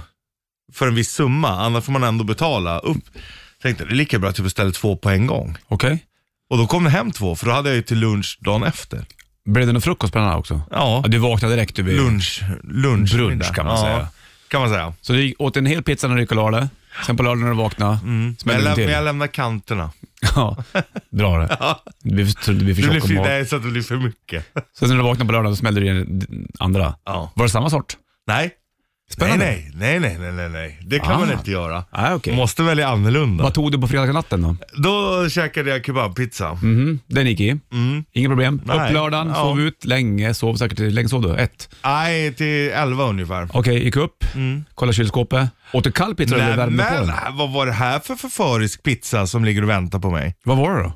Speaker 3: för en viss summa, annars får man ändå betala upp. Tänkte det är lika bra att jag beställer två på en gång.
Speaker 2: Okej.
Speaker 3: Och då kom det hem två, för då hade jag ju till lunch dagen efter.
Speaker 2: Blev det någon frukost på den här också?
Speaker 3: Ja.
Speaker 2: Du vaknade direkt. Du blev...
Speaker 3: Lunch, lunch.
Speaker 2: Brunch
Speaker 3: middag.
Speaker 2: kan man
Speaker 3: ja,
Speaker 2: säga.
Speaker 3: Kan man säga.
Speaker 2: Så du gick- åt en hel pizza när du gick och la dig. Sen på lördagen när du vaknade
Speaker 3: Men jag,
Speaker 2: smällde du
Speaker 3: läm-
Speaker 2: till.
Speaker 3: men jag lämnar kanterna.
Speaker 2: Ja, dra det. Du blir för, du blir för
Speaker 3: Det blir
Speaker 2: tjock
Speaker 3: för,
Speaker 2: om magen.
Speaker 3: nej, så att det blir för mycket.
Speaker 2: Sen när du vaknade på lördagen så smällde du i den andra.
Speaker 3: Ja.
Speaker 2: Var det samma sort?
Speaker 3: Nej.
Speaker 2: Spännande.
Speaker 3: Nej, nej, nej, nej, nej, nej. Det kan
Speaker 2: Ah.
Speaker 3: man inte göra.
Speaker 2: Nej, okej.
Speaker 3: Måste välja annorlunda.
Speaker 2: Vad tog du på fredagsnatten då?
Speaker 3: Då käkade jag kebabpizza.
Speaker 2: Mhm, Den gick i. Inga problem.
Speaker 3: Mm. Nej.
Speaker 2: Upp lördagen,
Speaker 3: Ja.
Speaker 2: sov ut länge, sov säkert till, länge sov du? Ett.
Speaker 3: Nej, till elva ungefär. Mm.
Speaker 2: Okej, gick upp, kollade kylskåpet. Åt du kall pizza eller
Speaker 3: Nej,
Speaker 2: värme på den?
Speaker 3: men vad var det här för förförisk pizza som ligger och väntar på mig?
Speaker 2: Vad var det då?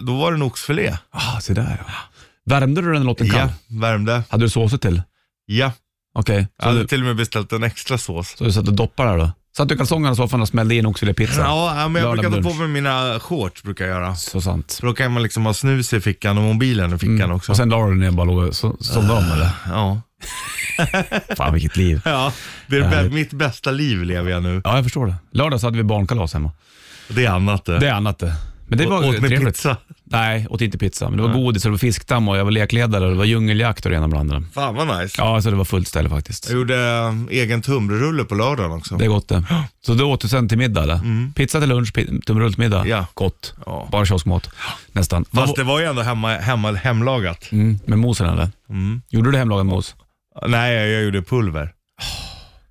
Speaker 3: Då var det en oxfilé.
Speaker 2: Ah, se där ja. Värmde du den och åt den kall?
Speaker 3: Ja, värmde.
Speaker 2: Hade du såser till?
Speaker 3: Ja.
Speaker 2: Okej,
Speaker 3: Jag
Speaker 2: så,
Speaker 3: hade
Speaker 2: du,
Speaker 3: till och med beställt en extra sås.
Speaker 2: så du satt och doppade där då? Satt du i kalsongerna i soffan och smällde in oxfilépizza?
Speaker 3: Ja, ja, men jag
Speaker 2: Lördag
Speaker 3: brukar ta på
Speaker 2: lunch.
Speaker 3: mig mina shorts, brukar jag göra.
Speaker 2: Så sant.
Speaker 3: För då kan man liksom ha snus i fickan och mobilen i fickan också.
Speaker 2: Mm. Och sen la du den ner och bara låg och so- somnade om eller?
Speaker 3: ja.
Speaker 2: Fan vilket liv.
Speaker 3: ja, det är bä- mitt bästa liv lever jag nu.
Speaker 2: Ja, jag förstår det. Lördag så hade vi barnkalas hemma.
Speaker 3: Det är annat det.
Speaker 2: Det är annat det. Men det
Speaker 3: Å-
Speaker 2: var
Speaker 3: åt med
Speaker 2: trevligt.
Speaker 3: pizza.
Speaker 2: Nej, åt inte pizza. Men det var godis och det var fiskdamm och jag var lekledare och det var djungeljakt och det ena bland det andra.
Speaker 3: Fan vad nice.
Speaker 2: Ja, så det var fullt ställe faktiskt.
Speaker 3: Jag gjorde eh, egen tunnbrödsrulle på lördagen också.
Speaker 2: Det är gott det. Så du åt du sen till middag eller? Pizza till lunch, pi- tummerull till middag.
Speaker 3: Mm. Ja.
Speaker 2: Gott.
Speaker 3: Ja.
Speaker 2: Bara kioskmat. Nästan.
Speaker 3: Fast
Speaker 2: Vad-
Speaker 3: det var ju ändå hemma, hemma, hemlagat. Mm.
Speaker 2: mm, med mosen eller? Gjorde du hemlagad mos?
Speaker 3: Nej, jag gjorde pulver.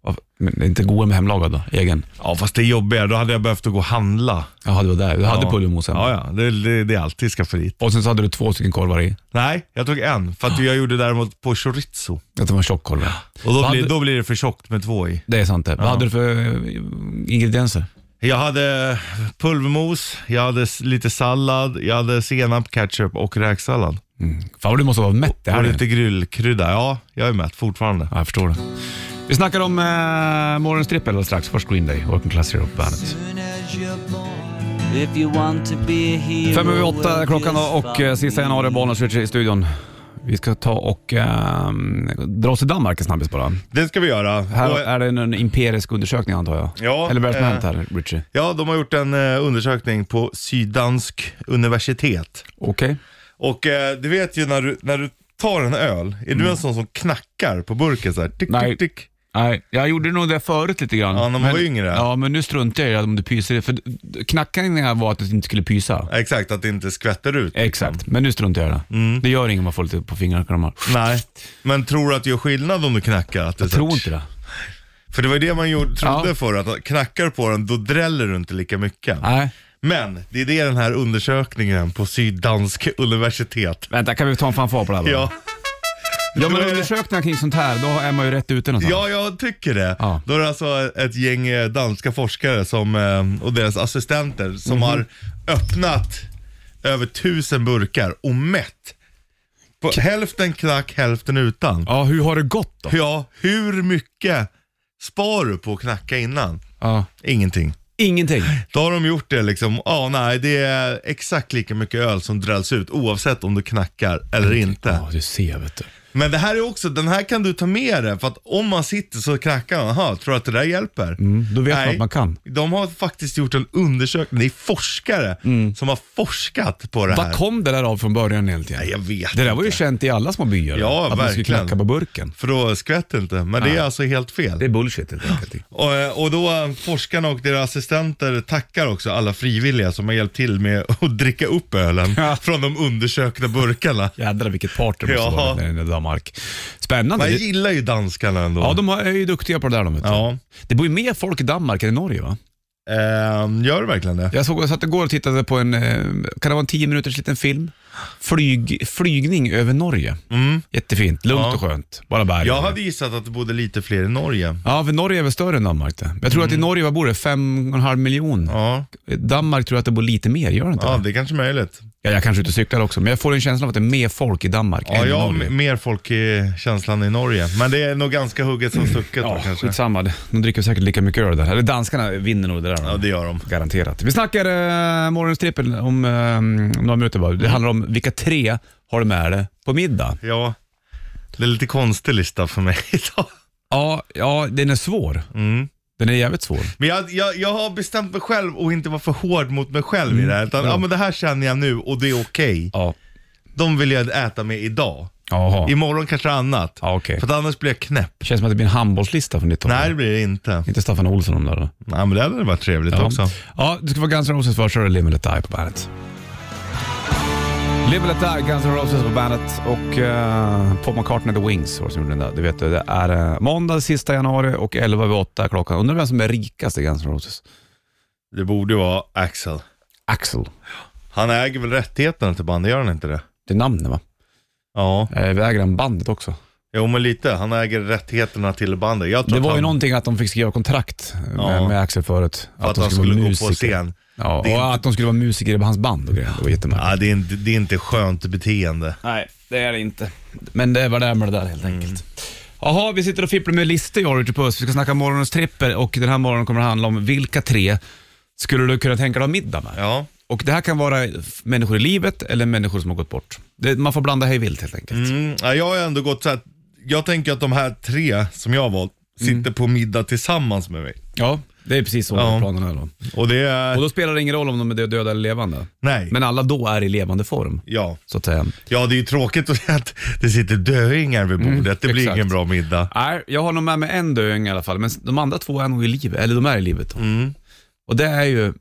Speaker 2: Varför- Men det är inte goda med hemlagad då? Egen?
Speaker 3: Ja, fast det är jobbigare. Då hade jag behövt att gå och handla.
Speaker 2: Jaha, det var där. Du hade
Speaker 3: Ja.
Speaker 2: pulvermos hemma.
Speaker 3: Ja, ja. Det, det, det är alltid skafferiet.
Speaker 2: Och sen så hade du två stycken korvar i.
Speaker 3: Nej, jag tog en. För att jag gjorde däremot på chorizo.
Speaker 2: Att det var en tjock korv.
Speaker 3: Och då,
Speaker 2: Vad
Speaker 3: blir,
Speaker 2: hade-
Speaker 3: då blir det för tjockt med två i.
Speaker 2: Det är sant det. Vad hade du för eh, ingredienser?
Speaker 3: Jag hade pulvermos, jag hade s- lite sallad, jag hade senap, ketchup och räksallad.
Speaker 2: Fan vad du måste vara mätt det här.
Speaker 3: Och
Speaker 2: är.
Speaker 3: lite grillkrydda. Ja, jag är mätt fortfarande.
Speaker 2: Ja, jag förstår det. Vi snackar om eh, morgonens trippel alldeles strax. Först Green Day, Working Class Hero på bandet.
Speaker 7: If you want to be here,
Speaker 2: Fem över åtta är klockan då och eh, sista januari, Bonus Richard i studion. Vi ska ta och eh, dra oss till Danmark en snabbis bara.
Speaker 3: Det ska vi göra.
Speaker 2: Här
Speaker 3: Och- eh,
Speaker 2: är det en empirisk undersökning antar jag.
Speaker 3: Ja,
Speaker 2: Eller vad är det som
Speaker 3: eh,
Speaker 2: hänt här, Richie?
Speaker 3: Ja, de har gjort en eh, undersökning på Syddansk universitet.
Speaker 2: Okej.
Speaker 3: Och eh, du vet ju när du, när du tar en öl, är du en sån som knackar på burken så här? Tick,
Speaker 2: Mm. Nej.
Speaker 3: tick, tick.
Speaker 2: Nej, jag gjorde nog det förut lite grann.
Speaker 3: Ja, när man
Speaker 2: men,
Speaker 3: var yngre.
Speaker 2: Ja, men nu struntar jag i om du pyser. För knackningarna var att du inte skulle pysa.
Speaker 3: Exakt, att det inte skvätter ut. liksom.
Speaker 2: Exakt, men nu struntar jag i det.
Speaker 3: Mm.
Speaker 2: Det gör inget om man får lite på fingrarna. Kan man...
Speaker 3: Nej. Men tror du att det gör skillnad om du knackar? Att det
Speaker 2: Jag
Speaker 3: så här-
Speaker 2: tror inte det.
Speaker 3: För det var ju det man gjorde, trodde
Speaker 2: Ja.
Speaker 3: förr, att knackar du på den då dräller du inte lika mycket.
Speaker 2: Nej.
Speaker 3: Men det är det den här undersökningen på Syddansk universitet.
Speaker 2: Vänta, kan vi ta en fanfar på det här bara?
Speaker 3: Ja,
Speaker 2: ja men
Speaker 3: Då är det-
Speaker 2: undersökningar kring sånt här, då är man ju rätt ute någonstans.
Speaker 3: ja, jag tycker det.
Speaker 2: Ja.
Speaker 3: Då är det alltså ett gäng eh, danska forskare som, eh, och deras assistenter
Speaker 2: Mhm.
Speaker 3: som har öppnat över tusen burkar och mätt. På hälften knack, hälften utan.
Speaker 2: Ja, hur har det gått då?
Speaker 3: Ja, hur mycket spar du på att knacka innan?
Speaker 2: Ja.
Speaker 3: Ingenting.
Speaker 2: Ingenting.
Speaker 3: Då har de gjort det liksom, ja nej det är exakt lika mycket öl som drälls ut oavsett om du knackar eller inte.
Speaker 2: Mm, Ja, du ser vet du.
Speaker 3: Men det här är också, den här kan du ta med dig för att om man sitter så knackar man, aha, tror du att det där hjälper?
Speaker 2: Mm, Då vet man att man kan.
Speaker 3: De har faktiskt gjort en undersökning, det är forskare som har forskat på det här.
Speaker 2: Mm. Vad kom det där av från början egentligen?
Speaker 3: Nej, jag vet
Speaker 2: Det där var ju
Speaker 3: inte.
Speaker 2: känt i alla små byar.
Speaker 3: Ja,
Speaker 2: Att man skulle
Speaker 3: verkligen.
Speaker 2: knacka på burken.
Speaker 3: För då skvätter inte, men det är alltså helt fel.
Speaker 2: är bullshit helt enkelt.
Speaker 3: Och, eh, och då eh, forskarna och deras assistenter tackar också alla frivilliga som har hjälpt till med att dricka upp ölen
Speaker 2: Ja.
Speaker 3: från de undersökta burkarna.
Speaker 2: Jädrar vilket party det måste
Speaker 3: Jaha.
Speaker 2: vara när det är i Danmark. Spännande.
Speaker 3: Man
Speaker 2: Det-
Speaker 3: gillar ju danskarna ändå.
Speaker 2: Ja, de har- är ju duktiga på det där de. Vet du.
Speaker 3: Ja.
Speaker 2: Det bor ju mer folk i Danmark än i Norge va?
Speaker 3: Ehm, gör det verkligen det?
Speaker 2: Jag, såg, jag satt igår och tittade på en, eh, kan det vara en tio minuters liten film? Flyg, flygning över Norge. Jättefint, lugnt
Speaker 3: Mm. Ja.
Speaker 2: och skönt. Bara berg.
Speaker 3: Jag hade gissat att det bodde lite fler i Norge.
Speaker 2: Ja, för Norge är väl större än Danmark det. Jag tror att i Norge, vad bor det? Fem och en halv miljon.
Speaker 3: Mm. Ja,
Speaker 2: I Danmark tror jag att det bor lite mer, gör det inte
Speaker 3: ja
Speaker 2: det?
Speaker 3: det är kanske möjligt.
Speaker 2: Ja, jag kanske är ute och cyklar också, men jag får en känsla av att det är mer folk i Danmark
Speaker 3: Ja,
Speaker 2: än i
Speaker 3: jag har
Speaker 2: Norge.
Speaker 3: m- mer folk i känslan i Norge. Men det är nog ganska hugget som stucket då
Speaker 2: Ja,
Speaker 3: kanske.
Speaker 2: skitsamma. De dricker säkert lika mycket öl där. Eller danskarna vinner nog det där.
Speaker 3: Ja, det gör de.
Speaker 2: Garanterat. Vi snackar eh, morgonens trippel om eh, om några minuter bara. Det handlar om vilka tre har du med dig på middag?
Speaker 3: Ja. Det är lite konstig lista för mig idag.
Speaker 2: Ja, ja den är svår. Den är jävligt svår.
Speaker 3: Men jag, jag, jag har bestämt mig själv att inte vara för hård mot mig själv i det här. Utan, Mm. ja. men det här känner jag nu och det är okej.
Speaker 2: Ja.
Speaker 3: De vill jag äta med idag.
Speaker 2: Jaha.
Speaker 3: Imorgon kanske annat.
Speaker 2: Ja, okej.
Speaker 3: För att annars blir jag knäpp.
Speaker 2: Känns som att det blir en handbollslista från ditt håll.
Speaker 3: Nej, det blir det inte.
Speaker 2: Inte Staffan Olsson om där då.
Speaker 3: Nej, men det hade varit trevligt också.
Speaker 2: Ja, det ska vara Guns N' Roses först, så är det Live and Let Die på bandet. Live and Let Die, Guns N' Roses på bandet och uh, Paul McCartney The Wings var det som gjorde den där. Du vet, det är eh, måndag sista januari och 11 över 8 är klockan. Undrar vem som är rikast i Guns N' Roses?
Speaker 3: Det borde ju vara Axel.
Speaker 2: Axel.
Speaker 3: Han äger väl rättigheterna till bandet, gör han inte det?
Speaker 2: Det är namnet va?
Speaker 3: Ja,
Speaker 2: Eh, Vi äger den bandet också.
Speaker 3: jo men lite. Han äger rättigheterna till bandet. Jag tror
Speaker 2: Det
Speaker 3: att
Speaker 2: var ju
Speaker 3: han,
Speaker 2: någonting att de fick skriva kontrakt med,
Speaker 3: Ja.
Speaker 2: med Axel förut.
Speaker 3: för att han skulle,
Speaker 2: vara
Speaker 3: gå på
Speaker 2: musiker.
Speaker 3: scen.
Speaker 2: Ja,
Speaker 3: Det är
Speaker 2: och att de skulle vara musiker i hans band och grejer. Det var jättemärkligt.
Speaker 3: Ja, det, är inte, det är inte skönt beteende.
Speaker 2: Nej, det är det inte. Men det var det med det där helt
Speaker 3: Mm.
Speaker 2: enkelt. Jaha, vi sitter och fipplar med listor jag och Richard Puss. Vi ska snacka morgonens tripper och den här morgonen kommer det handla om vilka tre skulle du kunna tänka dig ha middag med?
Speaker 3: Ja.
Speaker 2: Och det här kan vara f- människor i livet eller människor som har gått bort. Det, man får blanda hej vilt helt enkelt.
Speaker 3: Mm, ja, jag har ändå gått så här, jag tänker att de här tre som jag har valt sitter
Speaker 2: Mm.
Speaker 3: på middag tillsammans med mig.
Speaker 2: Ja, det är precis så
Speaker 3: Ja.
Speaker 2: planen är då.
Speaker 3: Och det är,
Speaker 2: Och då spelar det ingen roll om de är dö- döda eller levande.
Speaker 3: nej,
Speaker 2: Mm. Men alla då är i levande form,
Speaker 3: ja.
Speaker 2: så att säga.
Speaker 3: Ja, det är ju tråkigt att säga att det sitter döingar vid bordet. det blir
Speaker 2: Mm, exakt.
Speaker 3: ingen bra middag.
Speaker 2: Nej, jag har nog med mig en döing i alla fall, men de andra två är nog i livet, eller de är i livet. Då. Och det är ju,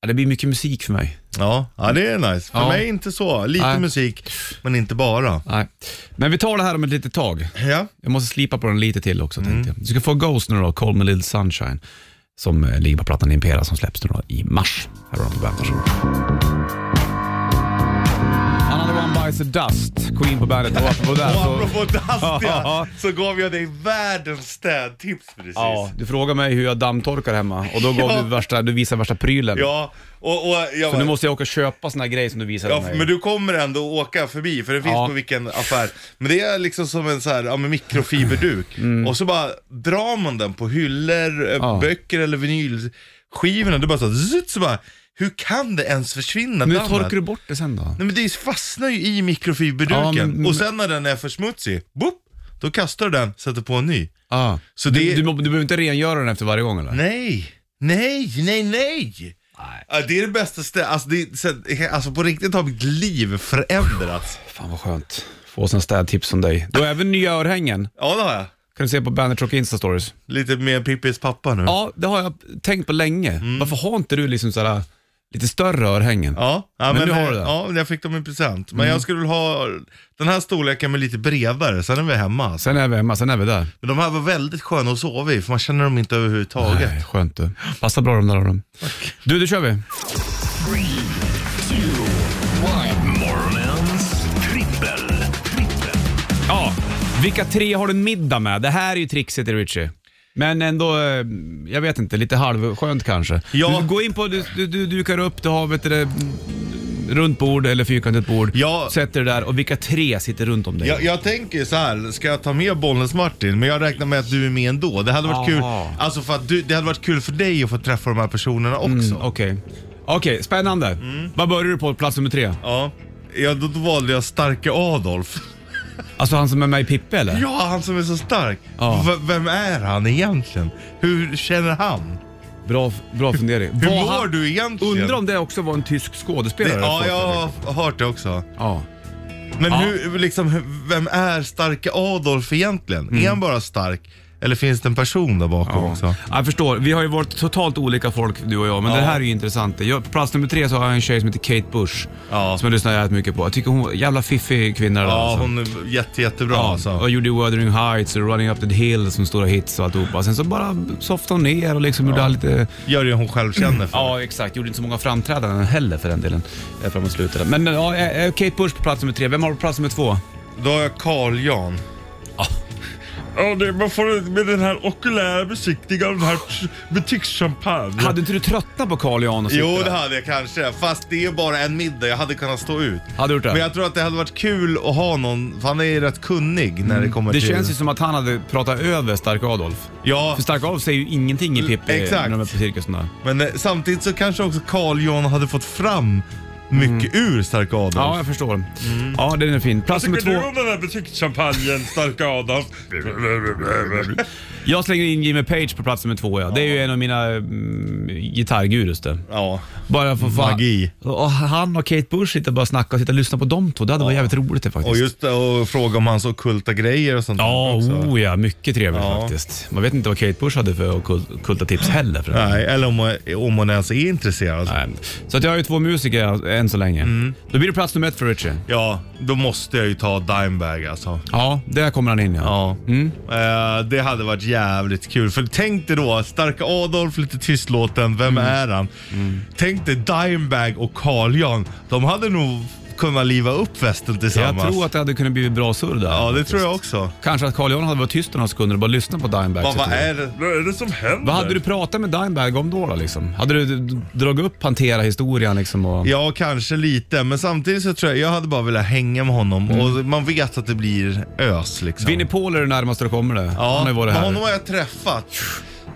Speaker 2: ja, det blir mycket musik för mig.
Speaker 3: Ja, ja det är nice. För
Speaker 2: Ja.
Speaker 3: mig inte så. Lite
Speaker 2: Nej.
Speaker 3: musik, men inte bara.
Speaker 2: Nej. Men vi tar det här om ett litet tag.
Speaker 3: Ja.
Speaker 2: Jag måste slipa på den lite till också tänkte jag. Du ska få Ghost nu då, Call Me Little Sunshine, som eh, ligger på plattan Impera som släpps nu då i mars. Här har de på bandet. Varsågod. Another One Bites the Dust, Queen på bandet och apropå det
Speaker 3: Och
Speaker 2: så...
Speaker 3: apropå
Speaker 2: Alltså- Ja.
Speaker 3: Dastia så gav jag dig världens städtips precis.
Speaker 2: Ja,
Speaker 3: Ja.
Speaker 2: du frågar mig hur jag dammtorkar hemma och då gav
Speaker 3: Ja.
Speaker 2: du, värsta, du visade värsta prylen.
Speaker 3: och, och jag
Speaker 2: Så
Speaker 3: bara,
Speaker 2: nu måste jag åka och köpa såna här grejer som du visade
Speaker 3: Ja,
Speaker 2: mig.
Speaker 3: men du kommer ändå åka förbi, för det finns
Speaker 2: Ja.
Speaker 3: på vilken affär. Men det är liksom som en så här, ja, men mikrofiberduk. Och så bara drar man den på hyllor, eh,
Speaker 2: Mm. Ja.
Speaker 3: böcker eller vinylskivorna. Du bara så, här, zzzt, så bara, hur kan det ens försvinna?
Speaker 2: Men hur
Speaker 3: dammet?
Speaker 2: torkar du bort det sen då?
Speaker 3: Nej men det fastnar ju i mikrofiberduken.
Speaker 2: Ja, men-
Speaker 3: Och sen när den är för smutsig, boop, då kastar du den, sätter på en ny.
Speaker 2: Ah.
Speaker 3: Så det
Speaker 2: Du,
Speaker 3: är-
Speaker 2: du, må- du behöver inte rengöra den efter varje gång eller?
Speaker 3: Nej, nej, nej, nej! Ja, Det är det bästa stället, alltså, det är, så- alltså på riktigt har mitt liv förändrats.
Speaker 2: Fan vad skönt. Få sådana städtips som dig. Du har även nya örhängen.
Speaker 3: Ja det har jag.
Speaker 2: Kan du se på Bandit Rock Insta Stories.
Speaker 3: Lite mer Pippis pappa nu.
Speaker 2: Ja, det har jag tänkt på länge. Varför har inte du liksom sådär lite större örhängen?
Speaker 3: Mm. Ja, ja,
Speaker 2: Men
Speaker 3: men,
Speaker 2: nu har Mm. du den.
Speaker 3: ja, jag fick dem i present. Men jag skulle vilja ha den här storleken med lite bredare, sen är vi hemma. Alltså.
Speaker 2: Sen är vi hemma, sen är vi där.
Speaker 3: Men de här var väldigt sköna att sova i, för man känner dem inte överhuvudtaget.
Speaker 2: Nej, skönt du. Passar bra de där dem. Du, då kör vi.
Speaker 1: Morgonens trippel.
Speaker 2: Ja, vilka tre har du middag med? Det här är ju trixigt Richie. Men ändå, eh, jag vet inte, lite halvskönt kanske.
Speaker 3: Ja.
Speaker 2: Du går in på, du, du, du dukar upp, du har vet du, det, runt bord eller fyrkantigt bord.
Speaker 3: Ja.
Speaker 2: Sätter dig där och vilka tre sitter runt om dig?
Speaker 3: Jag, jag tänker så här, ska jag ta med Bollnäs Martin? Men jag räknar med att du är med ändå. Det hade varit, kul,
Speaker 2: Aha.
Speaker 3: alltså för att du, det hade varit kul för dig att få träffa de här personerna också.
Speaker 2: Mm, Okej, Okej, spännande. Vad börjar du på, plats nummer tre?
Speaker 3: Ja. Ja, då då valde jag starke Adolf.
Speaker 2: Alltså han som är med i Pippe eller?
Speaker 3: Ja, han som är så stark.
Speaker 2: Ja.
Speaker 3: V- vem är han egentligen? Hur känner han?
Speaker 2: Bra, bra fundering.
Speaker 3: Hur
Speaker 2: Var
Speaker 3: mår
Speaker 2: han-
Speaker 3: du egentligen?
Speaker 2: Undrar om det också var en tysk skådespelare?
Speaker 3: det, Ja,
Speaker 2: först,
Speaker 3: jag
Speaker 2: eller?
Speaker 3: har hört det också.
Speaker 2: ja.
Speaker 3: Men
Speaker 2: Ja.
Speaker 3: hur, liksom, hur- vem är starke Adolf egentligen? Är han bara stark? Eller finns det en person där bakom också?
Speaker 2: Mm. Ja, Jag förstår. Vi har ju varit totalt olika folk du och jag, men det här är ju intressant. Jag, på plats nummer tre så har jag en tjej som heter Kate Bush,
Speaker 3: Ja.
Speaker 2: som jag lyssnar jävligt mycket på. Jag tycker hon är en jävla fiffig kvinna. där,
Speaker 3: Ja,
Speaker 2: alltså.
Speaker 3: hon är jätte, jättebra
Speaker 2: Ja,
Speaker 3: alltså.
Speaker 2: och gjorde Wuthering Heights och Running Up the Hill som stora hits och alltihopa. Sen så bara softade hon ner och liksom gjorde lite...
Speaker 3: Gör det hon själv känner för.
Speaker 2: Ja, exakt. Gjorde inte så många framträdanden heller för den delen, eh, framåt slutet. Men ja, eh, eh, Kate Bush på plats nummer tre. Vem har du på plats nummer två?
Speaker 3: Då har jag Carl Jan. Ja, det, man får med den här okulära besiktningen av den här butikschampagne.
Speaker 2: Hade inte du tröttnat på Carl Jan och
Speaker 3: Jo,
Speaker 2: sitta
Speaker 3: det
Speaker 2: där?
Speaker 3: hade jag kanske. Fast det är ju bara en middag. Jag hade kunnat stå ut.
Speaker 2: Hade du gjort det?
Speaker 3: Men jag tror att det hade varit kul att ha någon, för han är ju rätt kunnig när det kommer
Speaker 2: Mm. Det
Speaker 3: till...
Speaker 2: känns ju som att han hade pratat över Stark Adolf.
Speaker 3: Ja,
Speaker 2: För Stark Adolf säger ju ingenting i Pippi
Speaker 3: Exakt.
Speaker 2: när de är på cirkusen där.
Speaker 3: men eh, samtidigt så kanske också Carl Jan hade fått fram mycket ur Stark Adolf.
Speaker 2: Mm. Ja, jag förstår. Ja, den är fin. Plats nummer två.
Speaker 3: den här butikschampagnen, Stark Adolf?
Speaker 2: Jag slänger in Jimmy Page på plats nummer två. Ja. Det är ju en av mina mm, gitarrgurus det.
Speaker 3: Ja.
Speaker 2: Bara för fan.
Speaker 3: Magi.
Speaker 2: Och han och Kate Bush sitter bara och snackar och sitter och lyssnar på dem två. Det hade varit jävligt roligt det faktiskt.
Speaker 3: Och just det, och fråga om hans ockulta grejer och sånt
Speaker 2: Ja,
Speaker 3: där också.
Speaker 2: oh ja, mycket trevligt
Speaker 3: Ja.
Speaker 2: faktiskt. Man vet inte vad Kate Bush hade för okult- kulta tips heller. För den
Speaker 3: Nej, eller om, om hon ens är intresserad.
Speaker 2: Nej. Så att jag har ju två musiker än så länge.
Speaker 3: Mm.
Speaker 2: Då blir det plats nummer ett för Richie.
Speaker 3: Ja, då måste jag ju ta Dimebag alltså.
Speaker 2: Ja, där kommer han in ja.
Speaker 3: Ja.
Speaker 2: Mm.
Speaker 3: Eh, det hade varit jävligt kul. För tänk dig då, Starka Adolf, lite tystlåten, Vem
Speaker 2: Mm.
Speaker 3: är han? Tänk dig Dimebag och Carl-Jan. De hade nog kunnat liva upp festen
Speaker 2: Jag
Speaker 3: tillsammans.
Speaker 2: tror att det hade kunnat bli bra surr där.
Speaker 3: Ja, det tror jag också.
Speaker 2: Kanske att Carl Johan hade varit tyst några sekunder och bara lyssnat på Dimebag.
Speaker 3: Vad,
Speaker 2: så
Speaker 3: vad
Speaker 2: tror jag.
Speaker 3: är det, vad är det som händer?
Speaker 2: vad hade du pratat med Dimebag om då? då liksom? Hade du d- dragit upp Pantera-historien liksom? Och...
Speaker 3: Ja, kanske lite. Men samtidigt så tror jag, jag hade bara velat hänga med honom. Och man vet att det blir ös liksom.
Speaker 2: Vinnie Paul är det närmaste du kommer det.
Speaker 3: Ja,
Speaker 2: han har ju varit
Speaker 3: men
Speaker 2: här.
Speaker 3: honom har jag träffat.